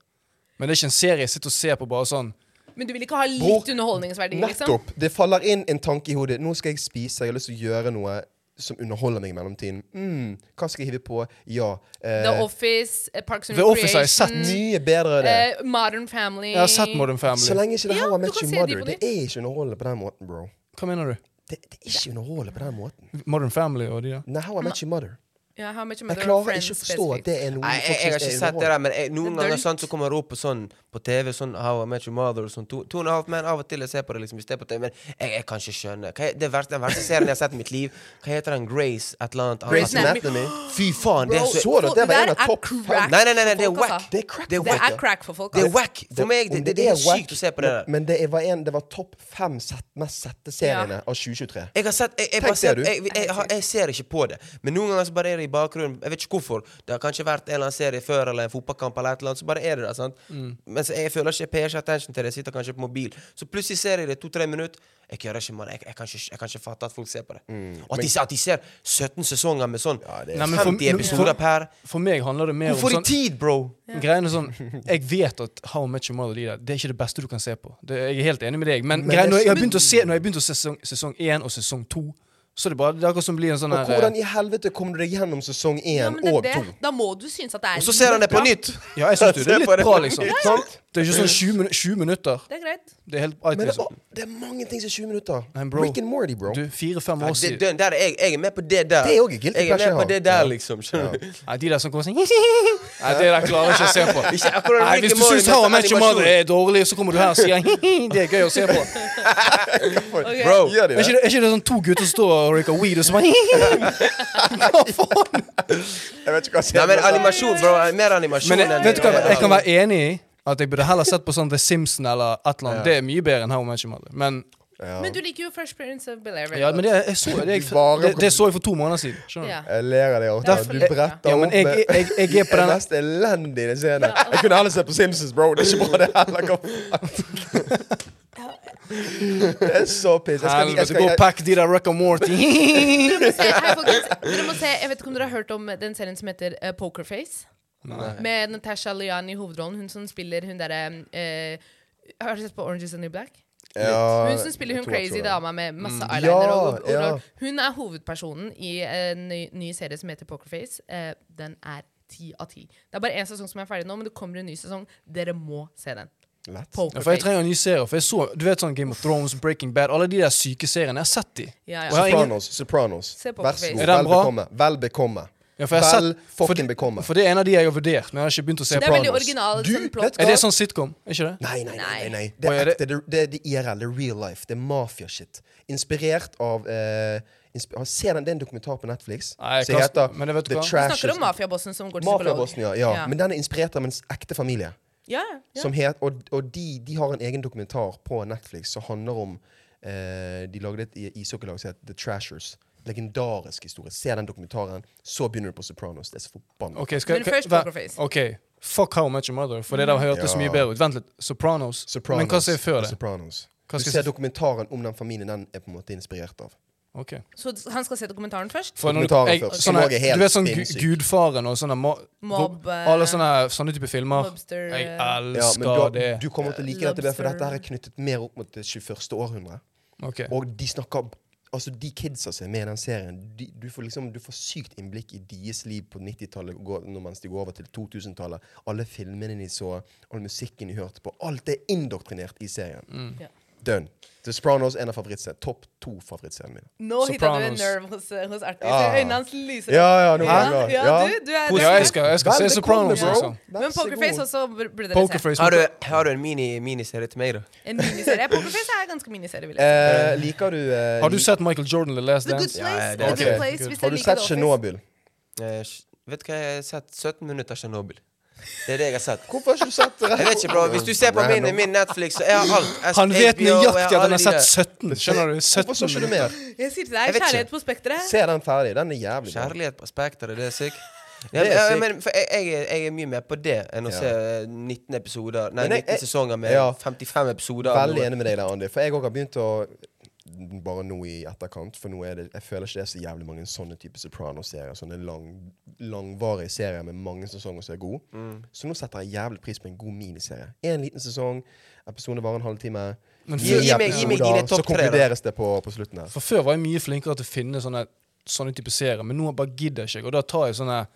Men det er ikke en serie jeg sitter og ser på bare sånn. Men du vil ikke ha Bror, litt underholdningsverdi, liksom? Nettopp! Det faller inn en tanke i hodet. Nå skal jeg spise, jeg har lyst til å gjøre noe som underholder meg i mellomtiden. Mm, hva skal jeg hive på? Ja. The Eh, Office, eh, Parks and The Office har jeg Recreation, mye bedre enn det. eh, Modern Family Jeg har sett Modern Eh, Så Family. lenge ikke det Ja, her var du Match kan Your se de Mother. på Det er ikke underholdende på den måten, bro. Hva mener du? Det, det er ikke underholdende på den måten. Modern Family og de der? Nei, How I Met Your Mother. Ja, How Much Jeg Mother klarer og Friends ikke å forstå at spesifikt. det er noe Nei, jeg, jeg har ikke sett det der, men jeg, noen Det er ganger dølt. sånn så kommer det opp på sånn på TV, sånn How I Met Your Mother og sånn. To, to and a half men av og til jeg ser på det liksom hvis det er på TV, men jeg, jeg kan ikke skjønne. Hva, er- det verste, den verste serien jeg har sett i mitt liv, hva heter den? Grace et eller annet? Grace annet- Anatomy. Fy faen, det er så så du at det var en av der er topp crack fem? Nei, nei, nei, nei, det er for folk, whack. altså. Det er crack. Det er for whack, Det folk, er ja. crack for folk. Det er altså. wack! For meg, om det, det, det er helt whack, sykt å se på det men- der. Men det er- var, en, det var topp fem sett, mest sette seriene av 2023. Jeg har sett, jeg, jeg, Tenk bare det, ser, du. jeg, jeg, jeg, har- jeg ser ikke på det. Men noen ganger så bare er det i bakgrunnen. Jeg vet ikke hvorfor. Det har kanskje vært en eller annen serie før, eller en fotballkamp, eller et eller annet, så bare er det der. sant? Mens jeg føler ikke jeg payer ikke attention til det. Jeg sitter kanskje på mobil. Så plutselig ser jeg det i to-tre minutter. Jeg kødder ikke, mann. Jeg, jeg, kan ikke- jeg kan ikke fatte at folk ser på det. Og at de, at de ser 17 sesonger med sånn det er- Nei, men for- 50 episoder per For meg handler det mer om Hvorfor i sånn tid, bro? Greiene sånn Jeg vet at How Much Your Mother de der, det er ikke det beste du kan se på. Det, jeg er helt enig med deg, men, Men greiene, det- når jeg har begynt å se Når jeg begynte å se sesong- sesong én og sesong to, så er det bare Det er akkurat som blir en sånn Og her hvordan eh, i helvete kom du deg gjennom sesong Ja, én men det er og to? det. Da må du synes at det er Og så ser han det på bra. nytt! eh, Ja, jeg syns jo det er Se på litt det. bra, liksom. Sant? Det er ikke sånn 20, minu 20 minutter. Det er greit. Det er helt Men det, iTunes. var, det er mange ting som er 20 minutter. Nei, bro. Rick and Morty, bro. Du, fire-fem Ja, år det, siden den der, er jeg, jeg er med på det der. Det er også guilty jeg pleasure, er med på han. det der, Ja. liksom. Skjønner du? Nei, de der som går sånn Nei, det der klarer jeg ikke å se på. Ikke akkurat Nei, Rick Hvis and du Morty, syns How I men Met Your animasjon. Mother er dårlig, så kommer du her og sier Det er gøy å se på. Ok. Bro, Gjør de Er ikke, det- det? er ikke det sånn to gutter som står og røyker weed og så bare Hva faen? Jeg vet ikke hva Nei, serien men heter. animasjon, bro. Mer animasjon Men jeg, enn- vet du hva, jeg kan være enig i at jeg burde heller sett på sånn The Simpsons eller et eller annet. Det er mye bedre enn How Much Mother. Men, Ja. Men du liker jo Fresh Prince of Bel-Air. veldig ja, men godt. det, jeg så, det, jeg, Bare- det, det så jeg for to måneder siden. Skjønner Ja. du? Jeg ler av deg, Arthur. Derfor- Du bretter Ja, men opp eh, jeg, med jeg, jeg, jeg er på den den mest elendige scenen. Jeg kunne heller sett på Simpsons, bro. Det er ikke bra, det heller. Hva faen? Det er så piss. Jeg skal, jeg Helvete, skal, gå og jeg, pakk de der Rick and Morty. Se, her, folkens, dere må se, jeg vet ikke om dere har hørt om den serien som heter eh, Pokerface? Med Natasha Lian i hovedrollen. Hun som spiller hun derre eh, Har dere sett på Orange is the New Black? ja, Hun som spiller hun jeg tror jeg crazy så det. Mm. dama med masse eyeliner. og, og, og, Ja, ja. Hun er hovedpersonen i eh, en ny, ny serie som heter Pokerface. Eh, den er ti av ti. Det er bare én sesong som er ferdig nå, men det kommer en ny sesong. Dere må se den. Lett. Ja, for jeg Pokerface. trenger en ny serie. For jeg så, du vet sånn Game of Thrones, Breaking Bad, alle de der syke seriene. Jeg har sett de. Ja, Og jeg ja. har ingen- Sopranos. Sopranos. Se på Vær så Face. god. Er den Vel bra? bekomme. Vel bekomme. Ja, for, jeg har Vel sett, for, fucking bekomme. det- for det er en av de jeg har vurdert, men jeg har ikke begynt å se Det er veldig Pranos. original Du, sånn plott. vet du Er det sånn sitcom? Er ikke det? Nei, nei, nei. nei, nei. Det, Hva er er det? ekte, det, det, det er IRL, det er real life. Det er mafia-shit. Inspirert av eh, insp Se den, det er en dokumentar på Netflix Nei, som Karsten, heter men det vet du The hva? Du Vi snakker Trashes. om mafiabossen som går til psykolog. Mafiabossen, ja, ja. Ja. Men den er inspirert av en s- ekte familie. Ja, ja. Som het, og og de, de har en egen dokumentar på Netflix som handler om eh, De lagde et i- ishockeylag som het The Trashers. Legendarisk historie. Se den dokumentaren, så begynner du på Sopranos. Det er så forbanna. Ok, skal, Men først hva- Pokerface. Ok, fuck How Much Your Mother, for det der hørtes så Ja. mye bedre ut. Vent litt, Sopranos. Sopranos Altså, Men hva sier før og det? Sopranos. Hva Du skal jeg ser si- dokumentaren om den familien den er på en måte inspirert av. altså, Ok. Så han skal se dokumentaren først? For når du, Dokumentaren jeg, først, som sånne, også er helt du vet sånn gu- sinnssyk. Gudfaren og sånne mo Mob, eh, Alle sånne, sånne type filmer. Mobster, jeg eh, Ja, elsker men du, har- det. du kommer til å like dette, bedre, for Lobster. dette her er knyttet mer opp mot det 21. århundre. Ok. Og de snakker Altså, de kidsa som er med i den serien, de, du, får liksom, du får sykt innblikk i deres liv på 90-tallet gå- nå mens de går over til 2000-tallet. Mm. Alle filmene de så, all musikken de hørte på. Alt er indoktrinert i serien. Ja. Done. The Spronos en av favorittscenene. Topp to favorittscenene mine. Nå hitta du en Sopranos. nerve hos, eh, hos Artis. Ah. Øynene hans lyser Ja, opp. ja, nå er jeg glad. ja, Ja. Du, du er, Ja, jeg skal, jeg skal Vel, se det Sopranos kommer, bro. også. Vær Men så Pokerface god. også bur- burde dere se. Pokerface. Har du, har du en mini, miniserie til meg, da? En miniserie. Pokerface er ganske miniserie, vil jeg si. Eh, liker du eh, Har du lik- sett Michael Jordan The Last The Good Dance? Place. Ja, ja, det The er Good det. Place hvis Har jeg du liker sett The Office. Tsjernobyl? Eh, sj- vet du hva, jeg har sett 17 minutter av Tsjernobil. Det er det jeg har sett. Hvorfor har ikke du sett det? Jeg vet ikke, bro. Hvis du ser på min, min Netflix, så jeg har alt. Jeg- Han vet HBO, jeg nøyaktig at han alle har de sett der. 17. Skjønner du? Hvorfor så ikke 17 du mer? Jeg sier til deg, Jeg vet ikke. Kjærlighet på Spekteret. Se den ferdig. Den er jævlig bra. Kjærlighet på Spekter, er det sykt? er Ja, ja, sykt. men for jeg, jeg, er- jeg er mye mer på det enn å Ja. se 19 episoder Nei, Men jeg- 19 sesonger med ja. 55 episoder. av Veldig noe. enig med deg der, Andy. For jeg òg har begynt å Bare nå i etterkant, for nå er det, jeg føler ikke det er så jævlig mange sånne type Sopranos-serier. Sånne lang, langvarige serier med mange sesonger som er gode. Mm. Så nå setter jeg jævlig pris på en god miniserie. En liten sesong, episodene varer en halvtime. Men Ni før- Gi meg- gi meg dine episoder, topp så tre, da. konkluderes det på, på slutten her. For før var jeg mye flinkere til å finne sånne, sånne type serier, men nå bare gidder jeg ikke. Og da tar jeg sånne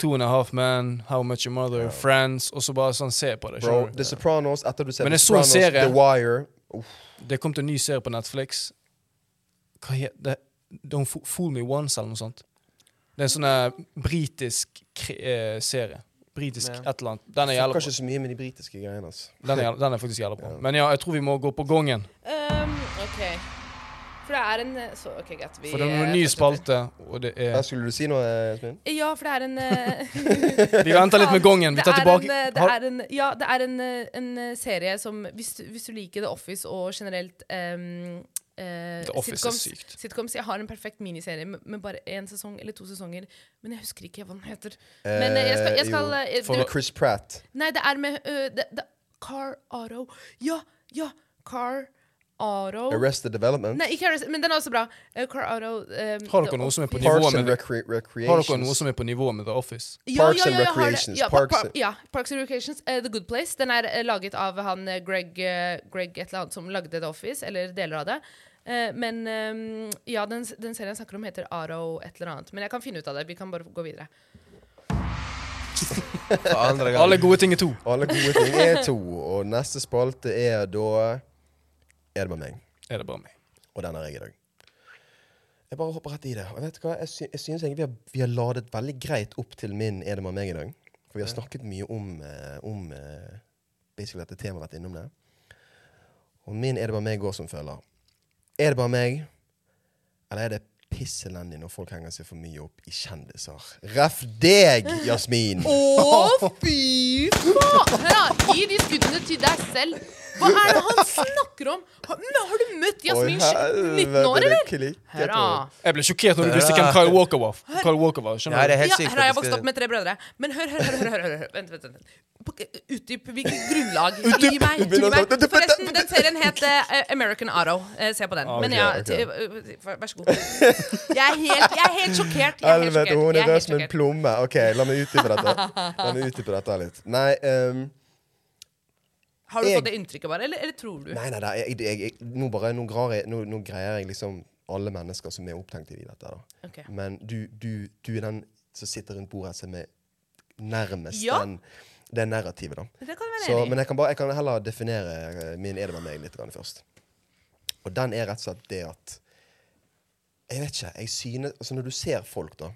Two and a Half Men, How Much Your Mother, Friends, og så bare sånn ser jeg på det. Bro, skjønner du? The Sopranos, etter du ser Men The jeg så en Sopranos, serie. The Wire Det kom til en ny serie på Netflix. Hva heter det? Don't Fo- Fool Me Once, eller noe sånt. Det er en sånn eh, britisk kri- eh, serie. Britisk Ja. et eller annet. Den er jævla bra. Snakker ikke så mye med de britiske greiene. Altså. Den er, jævla- den er faktisk jævla bra. Men ja, jeg tror vi må gå på gongen. Um, ok. For det er en eh, så, Ok, greit. Vi, For det er eh, en ny fortsetter. spalte, og det Der er skulle du si noe, Esmin? Ja, for det er en eh, Vi venter litt med gongen. Vi Det tar er tilbake En, eh, det Har- er en, ja, det er en, eh, en eh, serie som hvis, du- hvis du liker The Office og generelt ehm, eh, The Office er sitcoms, sykt. sitcoms Jeg har en perfekt miniserie med, med bare én sesong eller to sesonger. Men jeg husker ikke hva den heter. Eh, Men eh, jeg skal, jeg skal jo, eh, jeg- for- du, Chris Pratt. Nei, det er med eh, det, det, Car Aro. Ja, ja! Car Aro. Arrested Development. Nei, Oh. ikke Arrest, men den er også bra. Eh, Car Aro ehm, Har The dere noe som er på Office. nivå? Parks med and det. Recre Har dere noe Recreations. som er på nivå med The Office? Ja, Parks ja, and ja, jeg har det. Recreations. Ja, Parks par, and- ja, Parks and Recreations. eh, The Good Place. Den er eh, laget av han eh, Greg, eh, Greg et eller annet som lagde The Office, eller deler av det. Eh, men ehm, ja, den, den serien jeg snakker om, heter Arrow et eller annet. Men jeg kan finne ut av det. Vi kan bare gå videre. For andre gang. Alle gode ting er to. Alle gode ting er to, og neste spalte er da Er det bare meg? Er det bare meg? Og den er jeg i dag. Jeg bare hopper rett i det. Og vet du hva? Jeg, sy jeg synes egentlig vi har, vi har ladet veldig greit opp til min Er det bare meg i dag. For vi har snakket mye om, eh, om eh, basically dette temaet, vært innom det. Og min Er det bare meg går som følger. Er det bare meg, eller er det piss elendig når folk henger seg for mye opp i kjendiser? Ref deg, Jasmin! Å, fy faen! Hør da, Gi de skuddene til deg selv. Hva er det han snakker om? Har, men har du møtt Jasmin Oi, 19 år, helvete, det eller? klikker, Hør da. tror jeg. Jeg ble sjokkert når du visste hvem Kyle Walker var. Kyle Walker var, Nei, skjønner det du? er helt Ja, sykt. her har jeg faktisk. vokst opp med tre brødre. Men hør, hør, hør. hør, hør, hør, hør. Vent, vent, vent. På- Utdyp hvilket grunnlag. Gi meg, gi meg. Forresten, den serien het eh, American Arrow. Eh, se på den. Men ja, Ah, ok. til- eh, vær- vær så god. Jeg er helt, jeg er helt sjokkert. Jeg er helt Helvete, sjokkert. hun Jeg er er rød helt som en sjokkert. plomme. OK, la meg utdype dette. La meg utdype dette litt. Nei, ehm, Har du Jeg- fått det inntrykket bare, eller, eller tror du? nei, nei, nei jeg, jeg, jeg, nå, bare, nå, grar jeg, nå, nå greier jeg liksom alle mennesker som er opptenkt i dette. da. Ok. Men du, du, du er den som sitter rundt bordet som er nærmest Ja. den, det narrativet, da. Det kan jeg Så, være enig men i. jeg kan, bare, jeg kan heller definere eh, min er det med meg litt grann først. Og den er rett og slett det at Jeg vet ikke. jeg synes, altså Når du ser folk da,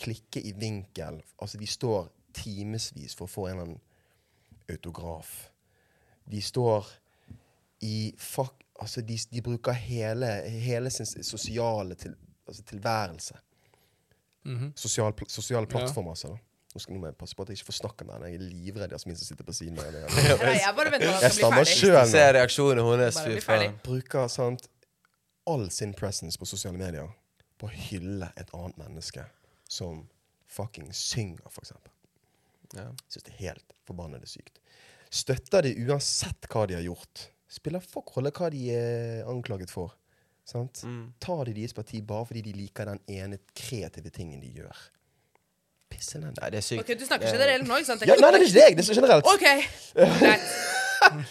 klikke i vinkel altså De står timevis for å få en eller annen autograf. De står i fuck, altså de, de bruker hele, hele sin sosiale til, altså tilværelse. Sosial pl- Sosiale plattformer, altså. da. Nå, skal, nå må jeg passe på at jeg ikke får snakke med henne. Jeg er livredd Jasmin som sitter på siden av meg. Nei, Jeg bare Jeg venter på at han skal bli stammer ferdig. sjøl Du nå. ser reaksjonen hennes. Bare fy bli faen. ferdig. Bruker sant, all sin presence på sosiale medier på å hylle et annet menneske som fucking synger, for eksempel. Ja. Syns det er helt forbannede sykt. Støtter de uansett hva de har gjort. Spiller fuck rolle hva de er anklaget for. Sant? Mm. Tar de deres parti bare fordi de liker den ene kreative tingen de gjør. Pisselendig. Nei, det er sykt. Ok, Du snakker generelt nå, ikke sant? Ja, nei, det er ikke deg! Det er generelt. OK. Greit. Jeg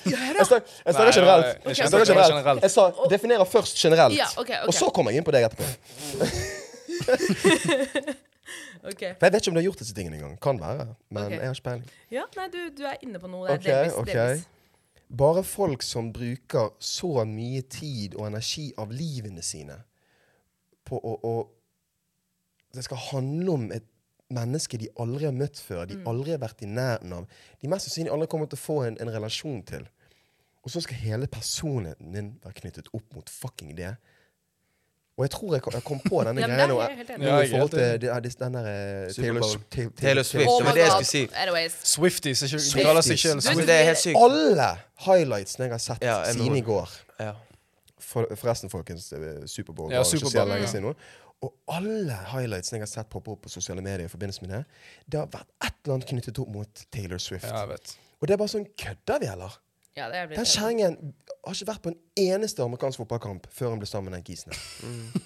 snak- jeg snakker Nei, generelt. nei, jeg Jeg skjønner snakker generelt. generelt. Jeg sa definerer først generelt, Ja, ok, ok. og så kommer jeg inn på deg etterpå. ok. For Jeg vet ikke om du har gjort disse tingene engang. Kan være. Men Ok. jeg har ikke peiling. Ja, nei, du, du er inne på noe der. Ok, delvis, ok. delvis. Bare folk som bruker så mye tid og energi av livene sine på å, å Det skal handle om et menneske de aldri har møtt før, de Mm. aldri har vært i nærheten av, de mest sannsynlig aldri kommer til å få en, en relasjon til. Og så skal hele personligheten din være knyttet opp mot fucking det. Og jeg tror jeg kom, jeg kom på denne Ja, men greia der nå. er jeg helt enig. nå Ja, jeg I er forhold til helt det- ja, det- den der eh, Superpower. Taylor, Taylor, Taylor Swift. Oh Det var my det jeg God. skulle si. Anyways. Swifties. ikke- De kaller seg selv Du- Men Swifties. det er helt sykt. Alle highlightsene jeg har sett Ja, jeg må- siden i går Ja. for, Forresten, folkens, det er Superbowl Ja, var jo ikke Super så Bowl, ja. lenge siden nå. Og alle highlightsene jeg har sett poppe opp på sosiale medier, i forbindelse med det, det har vært et eller annet knyttet opp mot Taylor Swift. Ja, jeg vet. Og det er bare sånn Kødder vi, eller? Ja, det er blitt Den kjerringen har ikke vært på en eneste amerikansk fotballkamp før hun ble sammen med den kisen her. Mm.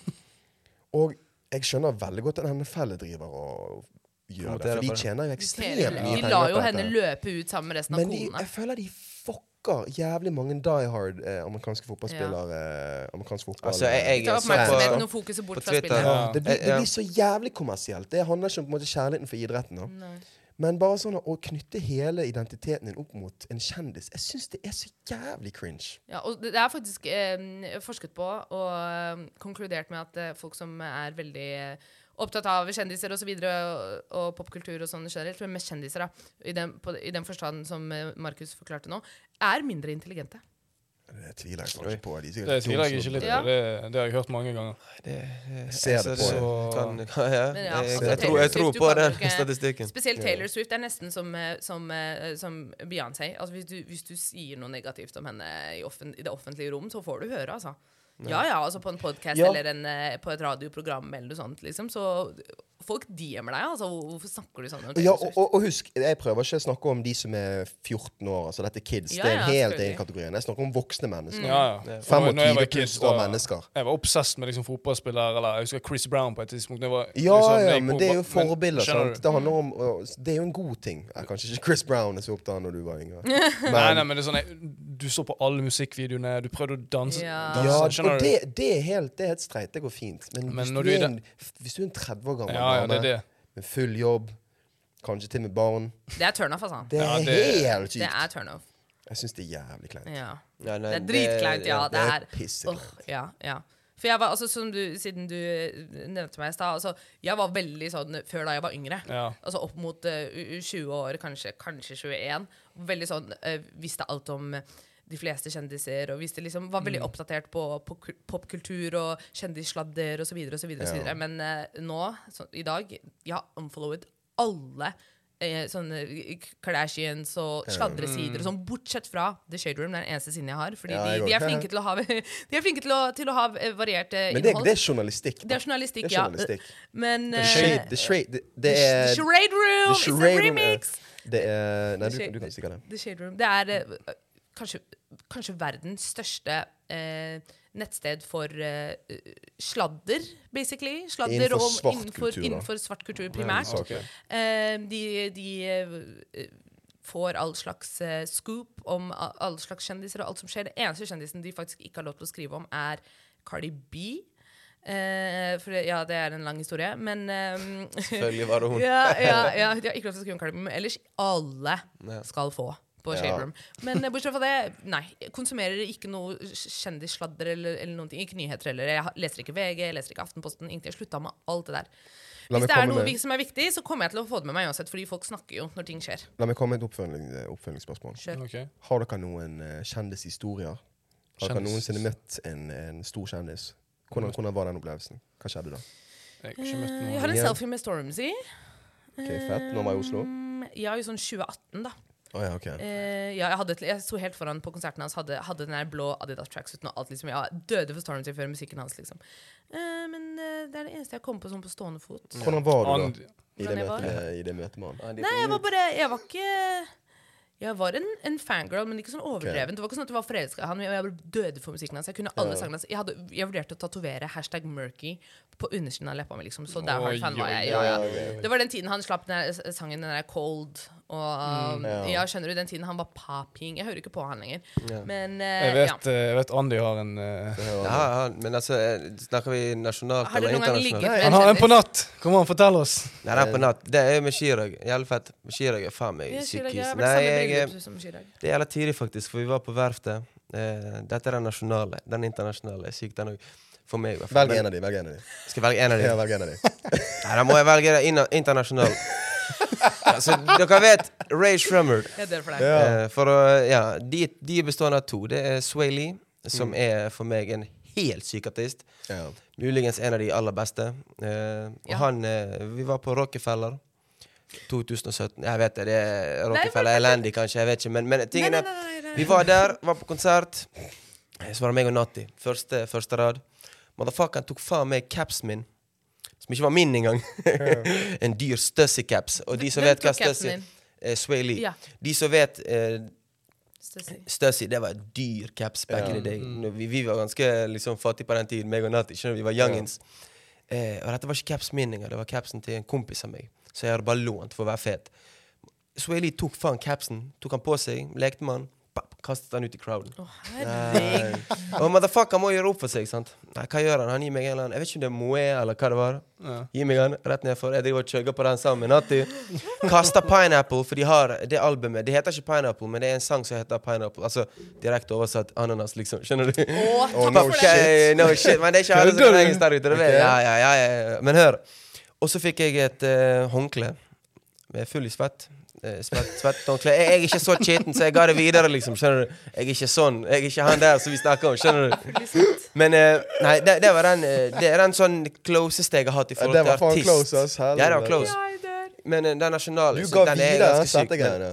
Og jeg skjønner veldig godt at NFL driver og gjør det, Promoterer for de for det. tjener jo Tjener- ekstremt mye De penger. lar på jo dette. henne løpe ut sammen med resten av Men de, konene. jeg føler de fucker jævlig mange die hard eh, amerikanske fotballspillere. eh, amerikansk fotball. eh, Altså, jeg, jeg, Ta så på- oppmerksomheten og fokuset på bort fra Twitter. spillet. Ja. det, blir, det Ja. blir så jævlig kommersielt. Det handler ikke om på en måte, kjærligheten for idretten. Da. Nei. Men bare sånn å knytte hele identiteten din opp mot en kjendis Jeg syns det er så jævlig cringe. Ja, og det det er faktisk eh, forsket på og eh, konkludert med at eh, folk som er veldig eh, opptatt av kjendiser og så videre, og, og popkultur og sånn generelt, men med kjendiser, da, i den, på, i den forstand som eh, Markus forklarte nå, er mindre intelligente. Det tviler jeg faktisk på. De er sikkert Det tviler jeg ikke dumme litt Ja. på. Det, det har jeg hørt mange ganger. som- Ser det på Så- det. Kan, kan, ja. Men jeg, ja, altså, jeg, tror, jeg Taylor tror Swift, du på kan den jo ikke- statistikken. Spesielt Taylor Swift er nesten som, eh, som, eh, som Beyoncé. Altså, hvis, du- hvis du sier noe negativt om henne i, offen, i det offentlige rom, så får du høre, altså. Ja ja, altså på en podkast Ja. eller en, eh, på et radioprogram eller noe sånt, liksom. Så folk DM'er deg, altså. Hvor- Hvorfor snakker du sånn om Taylor Ja, og, Swift? og, og husk, jeg prøver ikke å snakke om de som er 14 år. Altså dette er kids. Ja, det er ja, en helt selvfølgelig. Mm. egen kategori. Jeg snakker om voksne mennesker. Ja, ja. Fem Når- og når jeg ti var pluss kid, da- og mennesker. Jeg var obsess med liksom fotballspillere, eller jeg husker Chris Brown på et tidspunkt. når jeg var, Ja, liksom, når ja, jeg men på- det er jo men- forbilder. skjønner sant? du? Det, handler om, å- det er jo en god ting. Ja, kanskje ikke Chris Brown er så opptatt av når du var yngre. Nei, Men, nei, men det er sånn, jeg, Du så på alle musikkvideoene, du prøvde å danse. Ja. danse ja, skjønner og du? det, det, er helt, det er helt streit. Det går fint. Men, Men hvis, når du du er i en, hvis du er en 30 år gammel Ja, ja, det er dame det. med full jobb, kanskje til og med barn Det er turnoff, altså. Det er Ja, det- helt Det sykt. er turnoff. Jeg syns det er jævlig kleint. Ja. Ja, nei, Det er dritkleint, ja. Det er pissekleint. Åh, ja, ja. For jeg var, altså, som du, siden du eh, nevnte meg i stad, altså, jeg var veldig sånn før da jeg var yngre. Ja. Altså opp mot eh, u- u- 20 år, kanskje, kanskje 21. Veldig sånn eh, visste alt om de fleste kjendiser, og visste liksom, var Mm. veldig oppdatert på, på ku- popkultur og kjendissladder osv. videre og så videre, og så videre. Men eh, nå, så, i dag, jeg har unfollowet alle eh, sånne k- Kardashians og sladresider og sånn, bortsett fra The Shade Room. Det er den eneste siden jeg har. Fordi Ja, jeg de, går. de er flinke til å ha, de er flinke til å, til å ha eh, variert eh, Men det, innhold. det er journalistikk. da. Det er journalistikk, Det er journalistikk. ja. Men The eh, shade, the shade, det, det er The Charade Room! the It's a charade room er- remix! Det er Nei, The du, shade- du kan sikkert det. The Shade Room. Det er eh, kanskje, kanskje verdens største eh, nettsted for eh, sladder, basically. Sladder Innenfor om- svart innenfor, kultur, da. innenfor svart kultur, primært. Ok. Eh, de de eh, får all slags eh, scoop om a- alle slags kjendiser og alt som skjer. Den eneste kjendisen de faktisk ikke har lov til å skrive om, er Cardi B. Eh, for det- ja, det er en lang historie, men eh, Selvfølgelig var det hun. ja, ja, ja, de har ikke lov til å skrive om Cardi B, men ellers alle Ja. skal få. På Shade Ja. Room. Men eh, bortsett fra det, nei. jeg Konsumerer ikke noe kj- kjendissladder eller, eller noen ting. Ikke nyheter heller. Jeg ha- leser ikke VG, jeg leser ikke Aftenposten. Ingenting. Jeg slutta med alt det der. La Hvis meg det er komme noe med- vi- som er viktig, så kommer jeg til å få det med meg uansett, fordi folk snakker jo når ting skjer. La meg komme med et oppfølging, oppfølgingsspørsmål. Kjør. Ok. Har dere noen eh, kjendishistorier? Har dere Kjendis- noensinne møtt en, en stor kjendis? Hvordan, hvordan var den opplevelsen? Hva skjedde da? Jeg har Eh, ikke møtt Jeg noen. har en Ja. selfie med Stormzy. Ok, Fett. Når var jeg i Oslo? Mm, Ja, i sånn 2018, da. Å ja, ok. Eh, ja, jeg, hadde, et- jeg sto helt foran på konserten hans, hadde, hadde den der blå Adidas tracksuiten og alt. liksom Jeg døde for Stormzy før musikken hans, liksom. Eh, men eh, det er det eneste jeg kom på sånn på stående fot. Hvordan var du da And, i det Hvordan jeg var? møtet med, i det møtet med han? Ja, de- Nei, jeg var bare Jeg var ikke jeg var en, en fangirl, men ikke sånn overdreven. Det var ikke sånn at jeg var forelska i han, men jeg bare døde for musikken hans. Jeg kunne alle sangene hans. Jeg, hadde, jeg vurderte å tatovere hashtag Murky på undersiden av leppa mi, liksom. Så der Oi, fan var oi, jeg. Ja, ja. Det var den tiden han slapp den der sangen den der Cold Og Mm, um, Ja. ja, skjønner du, den tiden han var popping. Jeg hører ikke på han lenger. Ja. Men Jeg eh, ja. vet, eh, jeg vet Andy har en eh, Ja, ja, men altså, eh, snakker vi nasjonalt Har du eller noen gang ligget internasjonalt? Han med har en på natt! Kom an, fortell oss! Nei, det er på natt. Det er jo med Chirag. Jævlig fett. Chirag er faen meg Ja, syk Chirag, i jeg har huset. vært Nei, i samme jeg, bryllup som Chirag. det er jævla tidlig, faktisk, for vi var på verftet. Eh, dette er den nasjonale. Den internasjonale er syk, den òg. For meg, i hvert fall. Velg en av de, velg en av de. Men Skal jeg velge en av Ja, dem? velg en av de. Nei, da må jeg velge den inna- internasjonal. altså, dere vet Ray Shrummer. Jeg er der for deg. Ja. Eh, for å, ja, de, de er bestående av to. Det er Sway Lee, som Mm. er for meg en helt syk artist. Ja. Muligens en av de aller beste. Eh, og Ja. han eh, Vi var på Rockefeller 2017. Jeg vet det, det Nei, er Rockefeller er elendig, kanskje. Jeg vet ikke. Men, men tingen Nei, er nei, nei, nei, nei. Vi var der, var på konsert. Så var det meg og Natti. Første, første rad. Motherfuckeren tok faen meg capsen min. Som ikke var min engang. en dyr Stussy-caps. Og de som Hvem vet hva tok capsen Stussy din? eh, Sway Lee. Ja. De som vet eh, Stussy. Stussy, det var et dyr caps back in the day. Når Vi, vi var ganske liksom, fattige på den tiden, meg og Natti. Skjønner du, Vi var youngins. Eh, og dette var ikke capsen min engang, det var capsen til en kompis av meg. Så jeg hadde bare lånt for å være fet. Swaley tok faen capsen, tok han på seg, lekte med han, pap, kastet han ut i crowden. Å, herregud. Og motherfucker må gjøre opp for seg, sant. Nei, hva gjør han? Han gir meg en eller annen Jeg vet ikke om det er Moe eller hva det var. Gi meg han rett nedfor. Jeg driver og chugger på den sammen med Natti. Kaster Pineapple, for de har det albumet. Det heter ikke Pineapple, men det er en sang som heter Pineapple. Altså direkte oversatt ananas, liksom. Skjønner du? Å, takk no for det. Ok, no shit, Men det er ikke alle som Kødder kan du? engelsk der ute. det vet jeg. Ja, ja, ja, ja. Men hør. Og så fikk jeg et eh, håndkle. Jeg er full i svett. Eh, Svett, svett håndkle. Jeg, jeg er ikke så kjeten, så jeg ga det videre, liksom. Skjønner du? Jeg er ikke sånn. Jeg er ikke han der som vi snakker om. Skjønner du? Men eh, nei, det, det var den eh, Det er den sånn closeste jeg har hatt i Ja, forhold det til var faen artist. close, ass. Helvete. Ja, det var close. Ja, jeg er der. Men eh, den nasjonale Du så ga den er videre ganske ass, syk, dette men- greiene.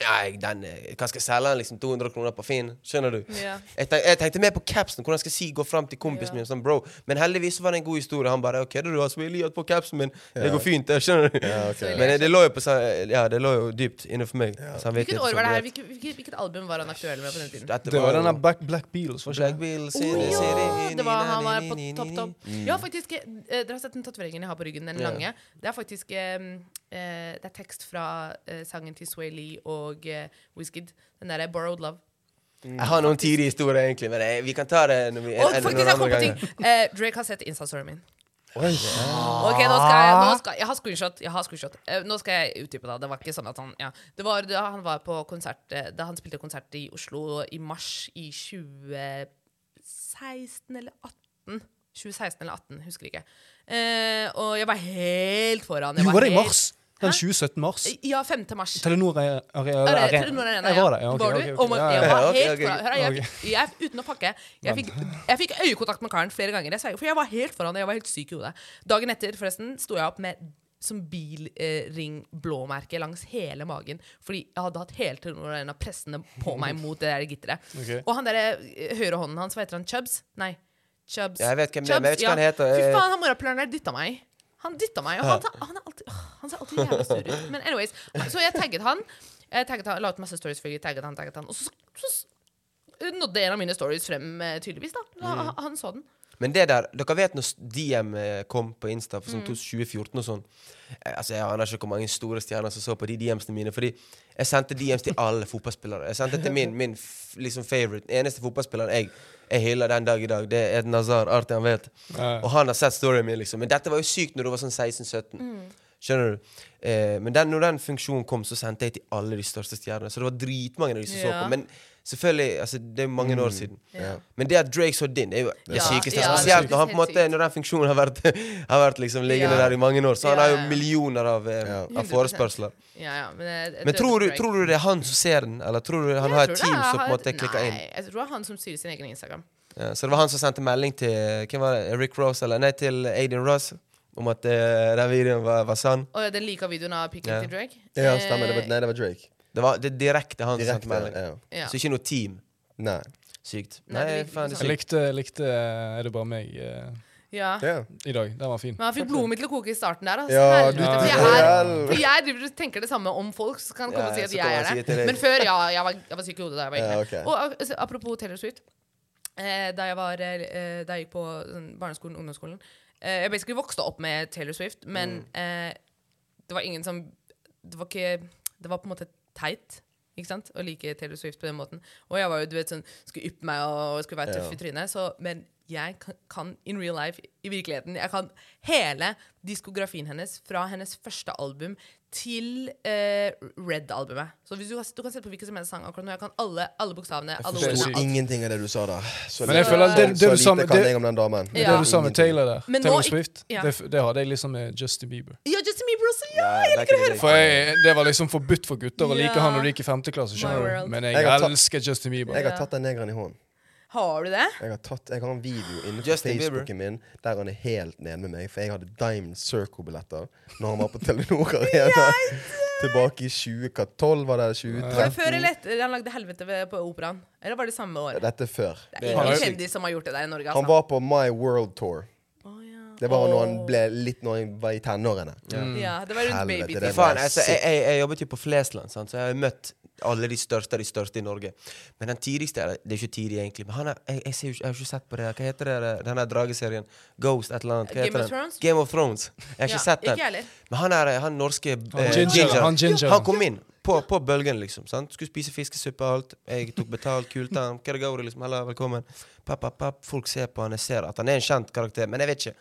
Nei, den eh, Hva skal jeg selge den? liksom 200 kroner på Finn? Skjønner du? Ja. Jeg, tenk, jeg tenkte mer på capsen, hvordan jeg skal si gå fram til kompisen Ja. min. Sånn, bro. Men heldigvis så var det en god historie. Han bare 'Kødder du? Altså, jeg liker på capsen min. Det går fint.' Det, skjønner du? Ja, ok. Men eh, det lå jo på sa- Ja, det lå jo dypt innenfor meg. samvittighet, Hvilket år var som det her? vet. Hvilket, hvilket, hvilket album var han aktuell med på den tiden? Dette Det var den jo- der Black, Black Beatles, var ikke Black det? Bill, Å, Siri, ja, Siri det var han var på topp, topp. Ja, faktisk, eh, Dere har sett den tatoveringen jeg har på ryggen, den Ja. lange. Det er faktisk eh, eh, Det er tekst fra eh, sangen til Sway Lee og eh, Wizkid. Den derre 'Borrowed Love'. Jeg har noen tidlige historier, egentlig, men eh, vi kan ta det når vi Og en- Mm. faktisk, noen jeg andre kom på ganger. ting! Eh, Drake har sett Insta-storyen min. Oi. Ok, nå skal jeg, nå skal, jeg har screenshot. Jeg har screenshot. Eh, nå skal jeg utdype det. Det var ikke sånn at han ja. Det var da han var på konsert eh, Da han spilte konsert i Oslo i mars i 2016 eller 18. 2016 eller 18, husker ikke. Eh, og jeg var helt foran. Jeg Jo, var det i helt- mars? Den 2017 mars? Ja, 5. mars. Telenor Are- Are- Ja, det er Arena. Telenor Arena, Jeg ja. var der, ja. ok, Var du? ok, ok. Oh my- Ja, ja. Jeg var Ja, ok, helt ok. foran. Hør, jeg, fikk- jeg, uten å pakke. Jeg fikk, jeg fikk øyekontakt med karen flere ganger, jeg sverger, for jeg var helt foran. og Jeg var helt syk i hodet. Dagen etter forresten sto jeg opp med som bilringblåmerke langs hele magen. Fordi jeg hadde hatt hele Telenor Arena pressende på meg mot det der gitteret. Ok. Og han derre eh, høyrehånden hans, hva heter han? Chubbs? Nei. Chubbs. Ja, jeg vet hvem det er, men jeg vet ikke hva han heter. Fy Eh, faen, han morapuleren der dytta meg. Han dytta meg, og han, ta- han, er alltid, åh, han ser alltid jævla sur ut. Men anyways, så jeg tagget han. Jeg tagget han, La ut masse stories før jeg tagget han. tagget han Og så, så, så nådde en av mine stories frem, eh, tydeligvis. da Da Mm. Han, han så den. Men det der, dere vet når DM eh, kom på Insta Mm. for sånn 2014 og sånn eh, Altså Jeg aner ikke hvor mange store stjerner som så på de DMs-ene mine. Fordi jeg sendte DMs til alle fotballspillere. Jeg sendte til min, min f liksom favorite. Eneste fotballspilleren jeg, jeg hyller den dag i dag, det er Eden Hazard. Artig han vet. Ja. Og han har sett storyen min, liksom. Men dette var jo sykt når du var sånn 16-17. Skjønner du? Eh, men den, når den funksjonen kom, så sendte jeg til alle de største stjernene. Så det var dritmange av de som så Ja. på. Men selvfølgelig, altså, det er jo mange år siden. Ja. Men det at Drake så din, det er jo det Ja, sykeste. ja, det er spesielt når, han på en helt måte, sykt. når den funksjonen har vært, har vært liksom Ja. liggende der i mange år. Så han har jo Ja, ja. millioner av, eh, av 100%. forespørsler. Ja, ja, men eh, Men døde tror du, Drake. tror du det er han som ser den, eller tror du Jeg han har tror det et team er- som på en har- måte klikker inn? Nei, jeg tror det er han som styrer sin egen Instagram. Ja, Eh, så det var han som sendte melding til hvem var det? Rick Ross, eller nei, til Aiden Ross om at eh, den videoen var, var sann. Og den liker videoen av pikken Ja. til Drake. Ja, stemmer. Det var, Eh, nei, det var Drake. Det var det er direkte han som Direkte. sendte melding. Ja. ja. Så ikke noe team. Nei. Sykt. Nei, Nei, det er ikke faen, det Jeg sant. er sykt. likte, jeg likte eh, Er det bare meg eh, ja. Ja. i dag? Den var fin. Men han fikk blodet mitt til å koke i starten der. Altså. Ja, du- Helvete, for, Ja. jeg er, for jeg driver og tenker det samme om folk, så kan Ja, komme og si ja, at så jeg kommer er han og sier det. til deg. Men før, ja, jeg var, jeg var syk i hodet da jeg var yngre. Ja, ok. Og ak- altså, apropos Taylor Swift. Eh, da, jeg var, eh, da jeg gikk på sånn, barneskolen og ungdomsskolen eh, Jeg basically vokste opp med Taylor Swift, men eh, det var ingen som Det var ikke Det var på en måte teit. Ikke sant? Å like Taylor Swift på den måten. Og jeg var jo, du vet, sånn, skulle yppe meg og skulle være tøff Ja. i trynet. Så, men jeg kan, kan in real life, i virkeligheten, jeg kan hele diskografien hennes fra hennes første album til eh, Red-albumet. Så hvis du, kan- du kan se på hvilken som helst sang akkurat nå. Jeg kan alle, alle bokstavene. alle forstår ordene, Forsto sykt. alt. ingenting av det du sa der. Så Men jeg lite- føler at det- det så du lite sa med- kan det- jeg om den damen. Det Ja. du sa med Taylor der, Men nå Taylor ikk- Swift, ja. det, f- det hadde jeg liksom med Justin Bieber. Ja, Justin Bieber også! Ja! Ja, jeg liker det. For jeg, Det var liksom forbudt for gutter å like Ja. han når du gikk i femte klasse. My skjønner world. du? Men jeg, Jeg har tatt- elsker Justin Bieber. Jeg har tatt den negeren i hånden. Har du det? Jeg har, tatt, jeg har en video inne på Justin Bieber. Facebooken min der han er helt nede med meg, for jeg hadde Diamond Circle-billetter når han var på Telenor Arena. Tilbake i 2012, var det Var det før 2013? eller etter han lagde helvete ved- på operaen? Eller var det samme år? Dette er før. Det er Han er ingen jo- kjendis som har gjort det der i Norge. Han Altså. var på My World Tour. Å, ja. Det var når han Åh. ble litt når han var i tenårene. Mm. Ja, det var rundt Helvete, Fy det babytid. Faen, altså, jeg, jeg, jeg jobbet jo på Flesland, sant? så jeg har møtt alle de største av de største i Norge. Men den tidligste eller, Det er ikke tidlig, egentlig. Men han er, jeg, jeg, ser jo ikke, jeg har ikke sett på det. her. Hva heter det, den der drageserien? Ghost, et eller annet. Hva Game heter of den? Thrones? Game of Thrones. Jeg har Ja, ikke sett ikke jeg den. heller. Men han er han norske Han eh, ginger, han ginger. Han kom inn på, på bølgen, liksom. sant? Skulle spise fiskesuppe og alt. Jeg tok betalt, kulta han. Hva det går i, liksom? Halla, velkommen. Papp, papp, papp. Folk ser på han. Jeg ser at han er en kjent karakter, men jeg vet ikke.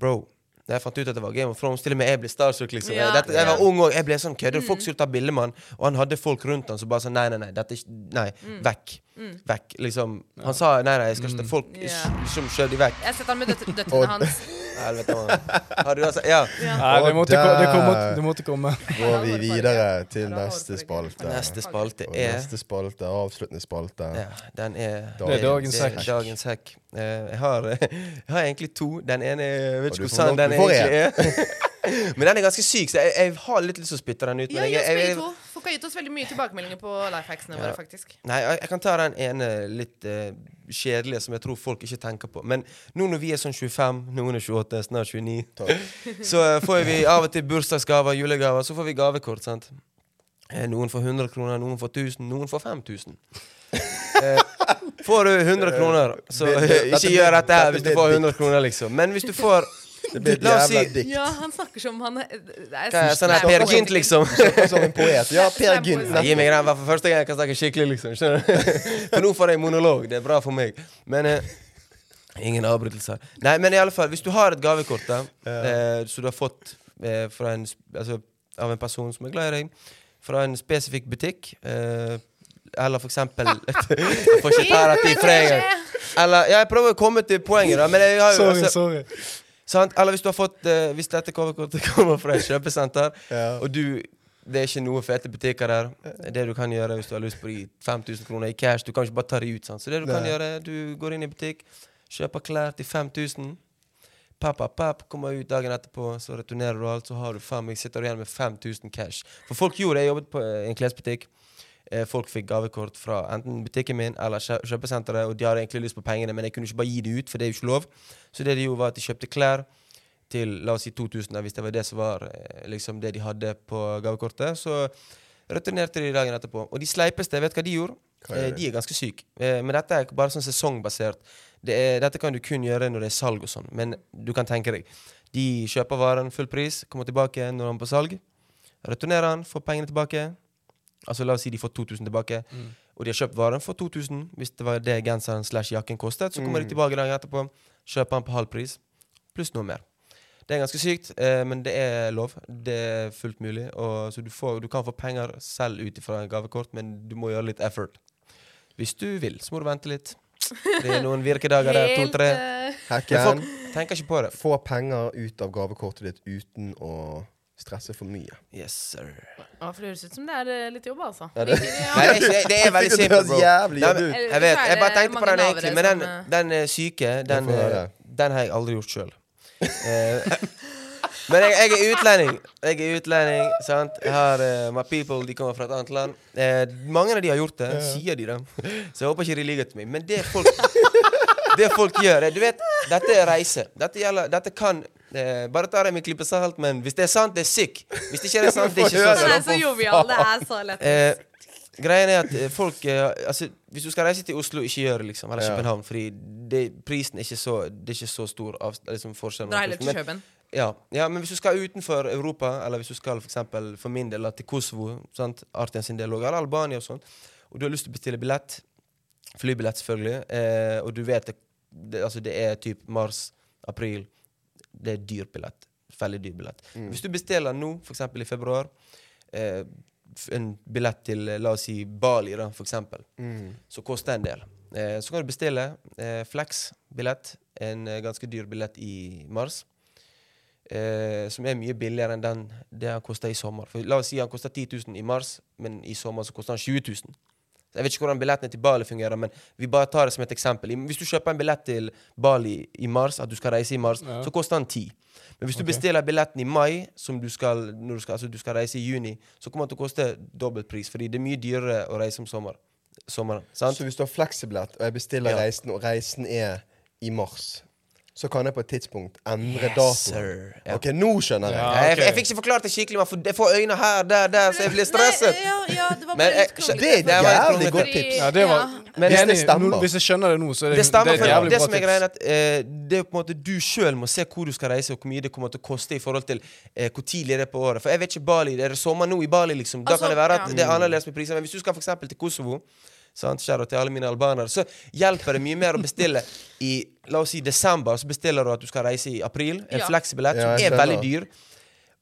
Bro, da jeg fant ut at det var Game of Thrones, til og med jeg ble starstruck. liksom. Ja, Mm. Dette, jeg var ja. ung òg. Jeg ble sånn kødder. Folk skulle ta bilde med han, og han hadde folk rundt han som bare sa nei, nei, nei, dette er ikke, nei, Mm. vekk. Vekk. Liksom. Han sa nei, nei, jeg skal ikke Folk Ja. som skjøv de vekk. Jeg har sett han med døt døtrene hans. Helvete, mann. Har du altså Ja. Nei, det måtte, ko- det, kom, det måtte komme. Går vi videre til Ja, da var det neste farge. spalte. Neste spalte Og er neste spalte, avsluttende spalte. ja, Den er Det er dagens det er hack. dagens hack. Eh, jeg, har, jeg har egentlig to. Den ene er- Jeg vet Og ikke du hvor får sann nok- den du får egentlig er. Men den er ganske syk, så jeg, jeg har litt lyst til å spytte den ut. Ja, Men jeg, gi oss jeg, begge jeg, to. Folk har gitt oss veldig mye tilbakemeldinger på lifehacksene våre, faktisk. Nei, jeg, jeg kan ta den ene litt eh, kjedelige som jeg tror folk ikke tenker på. Men nå når vi er sånn 25, noen er 28, snart 29, så eh, får vi av og til bursdagsgaver, julegaver, så får vi gavekort, sant. Eh, Noen får 100 kroner, noen får 1000, noen får 5000. Eh, får du 100 kroner, så Eh, Det- det- dette ikke blir- gjør dette her dette hvis du blir får dikt. 100 kroner, liksom. Men hvis du får Det blir et La oss si jævla dikt. Ja, han snakker som han er, det er- hva er sånn her Per Gynt, liksom. Som en poet. Ja, Det Per er Gynt. poesi. Nei, gi meg den hver for første gang jeg kan snakke skikkelig, liksom. Skjønner du? For nå får jeg monolog. Det er bra for meg. Men eh, Ingen avbrytelser. Nei, men i alle fall, hvis du har et gavekort da, eh, som du har fått eh, fra en, sp- altså, av en person som er glad i deg, fra en spesifikk butikk eh, eller for eksempel Jeg får ikke terapi for en gang. Eller, ja, jeg prøver å komme til poenget, da. Men jeg har jo Sorry, altså- sorry. Sant? Eller hvis du har fått eh, Hvis dette coverkortet kommer fra et kjøpesenter, Ja. og du det er ikke noe fete butikker der. Det du kan gjøre hvis du har lyst på de 5000 kroner i cash, du kan ikke bare ta de ut. Sant? Så det du kan Nei. gjøre, du går inn i butikk, kjøper klær til 5000. Papp, papp, papp, kommer ut dagen etterpå, så returnerer du alt, så har du faen meg sitter du igjen med 5000 cash. For folk gjorde det. Jeg jobbet på eh, en klesbutikk. Eh, Folk fikk gavekort fra enten butikken min eller kjø- kjøpesenteret, og de hadde egentlig lyst på pengene, men jeg kunne ikke bare gi det ut, for det er jo ikke lov. Så det de gjorde, var at de kjøpte klær til la oss si 2000, da, hvis det var det som var eh, liksom det de hadde på gavekortet. Så returnerte de dagen etterpå. Og de sleipeste, vet du hva de gjorde? Hva gjør Eh, de? De er ganske syke. Eh, Men dette er ikke bare sånn sesongbasert. Det er, dette kan du kun gjøre når det er salg og sånn, men du kan tenke deg. De kjøper varen full pris, kommer tilbake når den er på salg, returnerer den, får pengene tilbake. Altså La oss si de får 2000 tilbake, Mm. og de har kjøpt varen for 2000. Hvis det var det genseren slash jakken kostet, så Mm. kommer de tilbake dagen etterpå, kjøper den på halv pris, pluss noe mer. Det er ganske sykt, eh, men det er lov. Det er fullt mulig. Og, så du, får, du kan få penger selv ut ifra gavekort, men du må gjøre litt effort. Hvis du vil, så må du vente litt. Det er noen virkedager der, Helt, to-tre. eh, Men Hacken. folk tenker ikke på det. Få penger ut av gavekortet ditt uten å stresse for mye. Yes, sir. Ja, for det høres ut som det er eh, litt jobb, altså. Er det- Nei, det er, ikke, det er veldig Det høres simpelt, bro. jævlig Nei, jobb men, ut. jeg vet, jeg bare tenkte på Mange den egentlig, men lavere den, som, den eh, syke, den, får eh, høre. den har jeg aldri gjort sjøl. men jeg, jeg er utlending. Jeg er utlending, sant. Jeg har eh, my people, de kommer fra et annet land. Eh, mange av de har gjort det, sier de det. Så jeg håper ikke de lyver til meg. Men det folk, det folk gjør eh, Du vet, dette er reise. Dette, gjelder, dette kan eh, Bare ta det med en klype salt, men hvis det er sant, det er sick. Hvis det ikke er sant, det er ikke Den sant. er så jovial. Det er så lett. Eh, greien er at eh, folk eh, altså, Hvis du skal reise til Oslo, ikke gjør det, liksom. Eller Ja. København, fordi det, prisen er ikke så, det er ikke så stor av, liksom, forskjell. Dra mellom heller prisen. til Kjøben. Ja. ja, men hvis du skal utenfor Europa, eller hvis du skal for, eksempel, for min del da, til Kosovo, sant? Artian sin del også, eller Albania og sånn, og du har lyst til å bestille billett, flybillett selvfølgelig, eh, og du vet det, det, altså det er typ mars, april, det er dyr billett. Veldig dyr billett. Mm. Hvis du bestiller nå, for eksempel i februar, eh, f- en billett til, eh, la oss si, Bali da, for eksempel, Mm. så koster det en del. Eh, så kan du bestille eh, Flex-billett, en eh, ganske dyr billett i mars eh, som er mye billigere enn den det han kosta i sommer. For La oss si han kosta 10 000 i mars, men i sommer så kosta han 20 000. Så Jeg vet ikke hvordan billettene til Bali fungerer, men vi bare tar det som et eksempel. I- Hvis du kjøper en billett til Bali i mars, at du skal reise i mars, Ja. så koster den 10. Men hvis du bestiller billetten i mai, som du skal, når du skal, altså du skal reise i juni, så kommer den til å koste dobbelt pris, fordi det er mye dyrere å reise om sommer. sommeren. Sant? Så hvis du har fleksibillett, og jeg bestiller Ja. reisen, og reisen er i mars, så kan jeg på et tidspunkt endre Yes, datoen. sir. Ja. Ok, nå skjønner jeg. Ja. jeg, ok. jeg fikk ikke forklart det skikkelig, men for- jeg får øyne her, der, der, så jeg blir stresset. Nei, ja, ja, det var Men bare jeg- litt så kronglete. Det er et Det var et jævlig godt kronglete. tips. Ja, det var Men- Jeg er Hvis det enig. stemmer. Nå- Hvis jeg skjønner det nå, så er det, Det stemmer. det er et for jævlig det bra som er tips. greien er at eh, det er på en måte du sjøl må se hvor du skal reise, og hvor mye det kommer til å koste i forhold til eh, hvor tidlig det er på året. For jeg vet ikke Bali, det er sommer nå i Bali, liksom. Da Altså, kan det være at ja. det er annerledes med priser. Men hvis du skal for eksempel til Kosovo, sant, kjære til alle mine albanere, så hjelper det mye mer å bestille i la oss si desember, så bestiller du at du skal reise i april. En Ja. fleksibillett Ja, som jeg er veldig skjønner. dyr.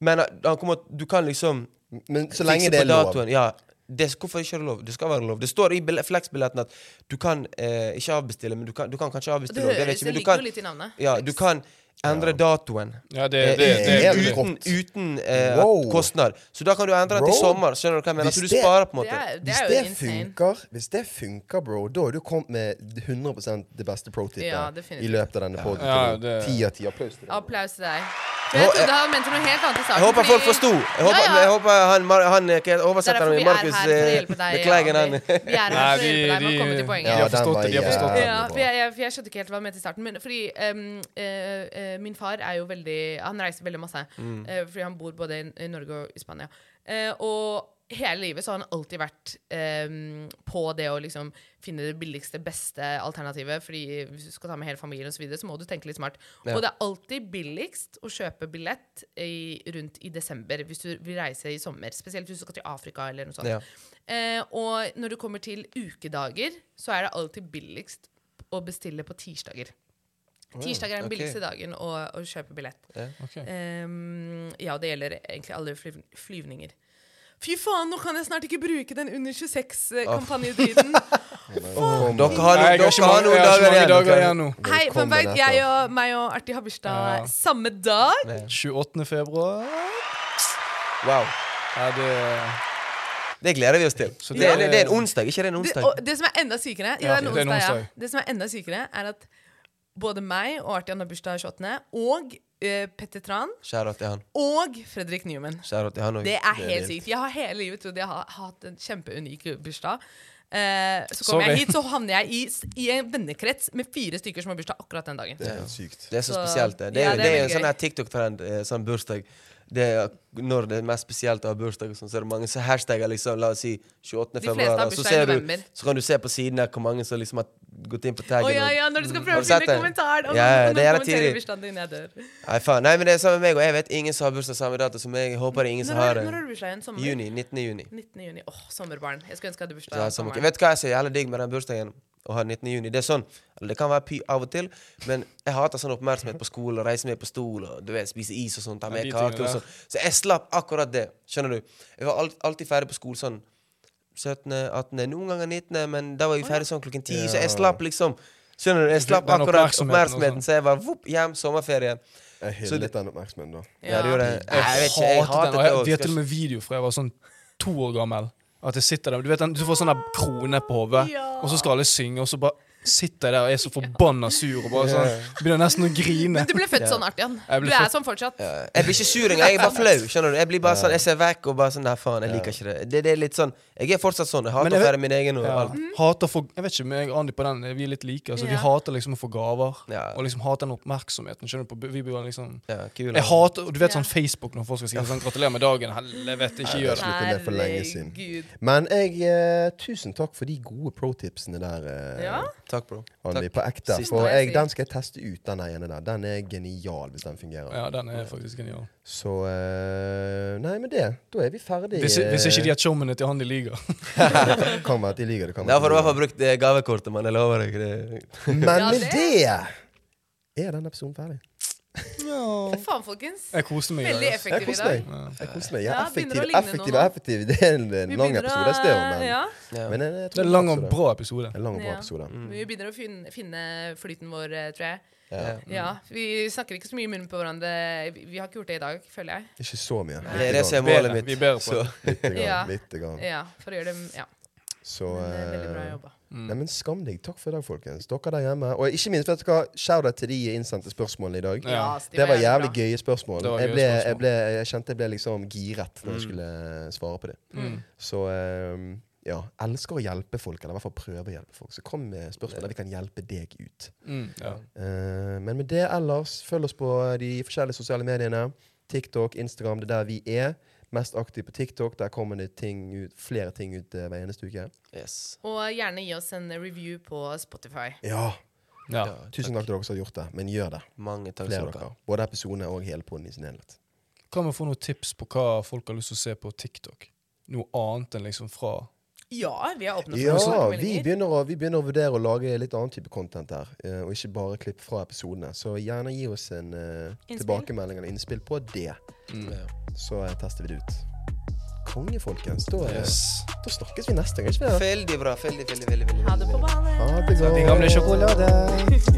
Men eh, han kommer, du kan liksom Men så fikse lenge det er på lov. datoen. Ja, det, hvorfor ikke er det lov? Det skal være lov. Det står i bille- Flex-billetten at du kan eh, ikke avbestille, men du kan, du kan kanskje Det, avbestille. også, jeg vet høres, det ikke, men du ligger kan, jo litt i navnet. ja, du kan endre datoen. Ja, det, Eh, det, det, det er det, helt uten rått. uten eh, Wow. kostnad. Så da kan du endre til Bro. sommer. Skjønner du hva jeg mener? Hvis Så du det- sparer på en Det måte. er, det Hvis er jo det insane. funker, hvis det funker, bro, da har du kommet med 100 det beste pro-tipet Ja, definitivt. i løpet av denne poden. Ja, det- Ti av ti applaus til det. Applaus til deg. For jeg trodde han mente noe helt annet i starten. Jeg håper folk fordi- forsto. Jeg håper, Ja, ja. jeg håper han, Mar- han eh, hva heter Det er derfor oversetteren vi min, er her Markus for å eh, hjelpe deg. Beklager André. den. Vi Nei, er her for å de, hjelpe deg med å komme til de, de poenget. Ja, har den forstått var det. De har jævlig forstått det. bra. Ja, for jeg, jeg, for jeg skjønte ikke helt hva han mente i starten. Men fordi ehm, eh, eh, min far er jo veldig Han reiser veldig masse. Mm. eh, fordi han bor både i, i Norge og i Spania. Eh, og hele livet så har han alltid vært ehm, på det å liksom finne det billigste, beste alternativet. Fordi hvis du skal ta med hele familien, og så, videre, så må du tenke litt smart. Ja. Og det er alltid billigst å kjøpe billett i, rundt i desember hvis du vil reise i sommer. Spesielt hvis du skal til Afrika eller noe sånt. Ja. Eh, og når det kommer til ukedager, så er det alltid billigst å bestille på tirsdager. Tirsdager er den ok. billigste dagen å, å kjøpe billett. Ok. Ehm, ja, og det gjelder egentlig alle flyv flyvninger. Fy faen, nå kan jeg snart ikke bruke den under 26-kampanjedriten. Dere Nei, har noen, jeg har ikke dere har mange, noen jeg har ikke dager mange igjen. dager dere. igjen nå. Hei, fun Velkommen fact, jeg etter. og, meg og Arti har bursdag Ja. samme dag. 28. februar. Wow. Ja, det, Det gleder vi oss til. Så Det er, det- det er en onsdag, ikke det er en Det, onsdag? og det som er enda sykere, Ja, ja, det, er en det er en onsdag, ja. onsdag. det som er enda sykere, er at både meg og Arti har bursdag 28., og eh, Petter Tran Skjæra til han. og Fredrik Newman. Skjæra til han også. Det er helt sykt. Jeg har hele livet trodd jeg har hatt en kjempeunik bursdag. Eh, så Sorry. kommer jeg hit, så havner jeg i, s- i en vennekrets med fire stykker som har bursdag akkurat den dagen. Det er helt sykt. Det er så, Så- spesielt, det. Det er, ja, jo- det det er er jo en veldig sånn gøy. her TikTok-trend, eh, sånn bursdag. Det er når det er mest spesielt å ha bursdag, og sånn, så er det mange som hashtagger liksom, la oss si De 28. fleste februar. har og Så, bursdag i ser du, november. så kan du se på siden der hvor mange som liksom har gått inn på Å taggen. ja, og- ja, når du skal Har prøve å du sett finne det? kommentaren! Og Ja, noen- ja, og det noen er jævla tidlig. kommenterer bursdagen din, jeg dør. Nei, faen. Nei, men det er samme med meg, og jeg vet ingen som har bursdag samme dato som meg. Jeg håper det er ingen som Når har har, når har det. du bursdag igjen? Sommer? Juni. 19. juni. 19. juni. Åh, sommerbarn. Jeg skulle ønske jeg hadde Så jeg bursdag. har om sommer- sommeren. Vet du hva jeg sier? Jævla digg med den bursdagen å ha 19. juni. Det er sånn, eller det kan være py av og til, men jeg hater sånn oppmerksomhet på skole, reise med på stol, og du vet, spise is og sånn, ta med de kake og tingene der. sånn. Så jeg slapp akkurat det. Skjønner du? Jeg var alt, alltid ferdig på skolen sånn 17., 18., noen ganger 19., men da var vi ferdig sånn klokken 10, så jeg slapp liksom Skjønner du? Jeg slapp Den oppmerksomheten akkurat og oppmerksomheten, sånn. så jeg var vopp, hjem, sommerferie. Jeg Så det- hyllet den oppmerksomheten da. Ja, det gjorde jeg. Nei, jeg vet ikke, Jeg jeg hatet den. hatet Og det jeg, de har til og også. med video fra jeg var sånn to år gammel. At jeg sitter der, Du vet, den- du får sånn der krone på hodet, Ja. og så skal alle synge, og så bare sitter jeg der og er så forbanna sur og bare sånn Begynner nesten å grine. Men du ble født sånn, Artian. Jeg ble Du er født- sånn fortsatt. Jeg blir ikke sur engang. Jeg er bare flau. skjønner du? Jeg blir bare sånn, jeg ser vekk og bare sånn Nei, faen, jeg liker ikke det. det. Det er litt sånn Jeg er fortsatt sånn. Men Jeg hater jeg å vet- være min egen og Ja. alt. Hater for, jeg vet ikke, meg og Andy på den, vi er litt like. Altså, Ja. Vi hater liksom å få gaver, Ja. og liksom hater den oppmerksomheten. Skjønner du? På, vi blir liksom... Ja, kul, Jeg hater, og Du vet Ja. sånn Facebook når folk skal skrive sånn 'gratulerer med dagen'. Helvete, ikke gjør det. Sluttet med for lenge siden. Herregud. Men jeg, eh, tusen takk for de gode pro-tipsene der. Eh, Ja. Takk, bro. Andy, Takk. på ekte. Siste For må jeg jeg, si. den skal jeg teste ut, den ene der. Den er genial hvis den fungerer. Ja, den er faktisk genial. Så eh, Nei, med det, da er vi ferdig. eh, Hvis, hvis ikke de har showmennene til han de liker. Det kan være at de liker det. kan være Der at får de du i hvert liker fall brukt det gavekortet, mann. Jeg lover deg. Det. det. Men Ja, med det- det er denne episoden ferdig. Faen, folkens. Jeg koste meg. i dag, ass. Veldig Jeg effektiv i koser meg. dag. Ja. Jeg koser meg. Jeg er Ja, begynner effektiv, å ligne effektiv noe og nå. effektiv. Det er en, en Vi lang begynner å- episode, det er jo, men, Ja, Ja. men jeg, jeg Det tror er en lang og også det. bra episode. En lang og bra Ja. episode. men vi begynner å finne, finne flyten vår, eh, tror jeg. Ja. Ja, Vi snakker ikke så mye i munnen på hverandre. Vi, vi har ikke gjort det i dag, føler jeg. Ikke så mye. det er det som er Bedre. målet mitt. Vi er bedre på Så, det. Lite Ja. grann. Lite grann. Ja, for å gjøre det Ja. Så Men, eh, veldig bra eh, jobba. Mm. Nei, men Skam deg. Takk for i dag, folkens. Dere der hjemme. Og ikke minst, vet du hva, shout-out til de innsendte spørsmålene i dag. Ja. Ja, ass, de Det var jævlig jævlig bra. gøye spørsmål. Det var Jeg, gøye ble, jeg, spørsmål. ble, jeg kjente jeg ble liksom giret når jeg skulle eh, svare på det. Mm. Mm. Så eh, ja, elsker å hjelpe folk, eller i hvert fall prøve å hjelpe folk. Så kom med spørsmål der vi kan hjelpe deg ut. Mm, ja. Eh, men med det ellers, følg oss på eh, de forskjellige sosiale mediene. TikTok, Instagram, det er der vi er. Mest aktiv på TikTok. Der kommer det ting ut, flere ting ut eh, hver eneste uke. yes. Og gjerne gi oss en review på Spotify. Ja, Ja. Ja, Tusen takk til dere som har gjort det, men gjør det. mange takk Flere skal av dere dere. Både episodene og hele poden i sin helhet. Kan vi få noen tips på hva folk har lyst til å se på TikTok? Noe annet enn liksom fra Ja, vi er åpne for Ja, vi tilbakemeldinger. begynner, å, vi begynner å vurdere å lage litt annen type content her, eh, og ikke bare klipp fra episodene. Så gjerne gi oss en eh, Innspill. tilbakemelding eller innspill på det, Ja. så eh, tester vi det ut. Konge, folkens. Da, eh, Yes. da snakkes vi neste gang, ikke sant? Veldig bra. Veldig, veldig, veldig. veldig, Ha det på veldig. banen. Ha det de gamle sjokolader. godt.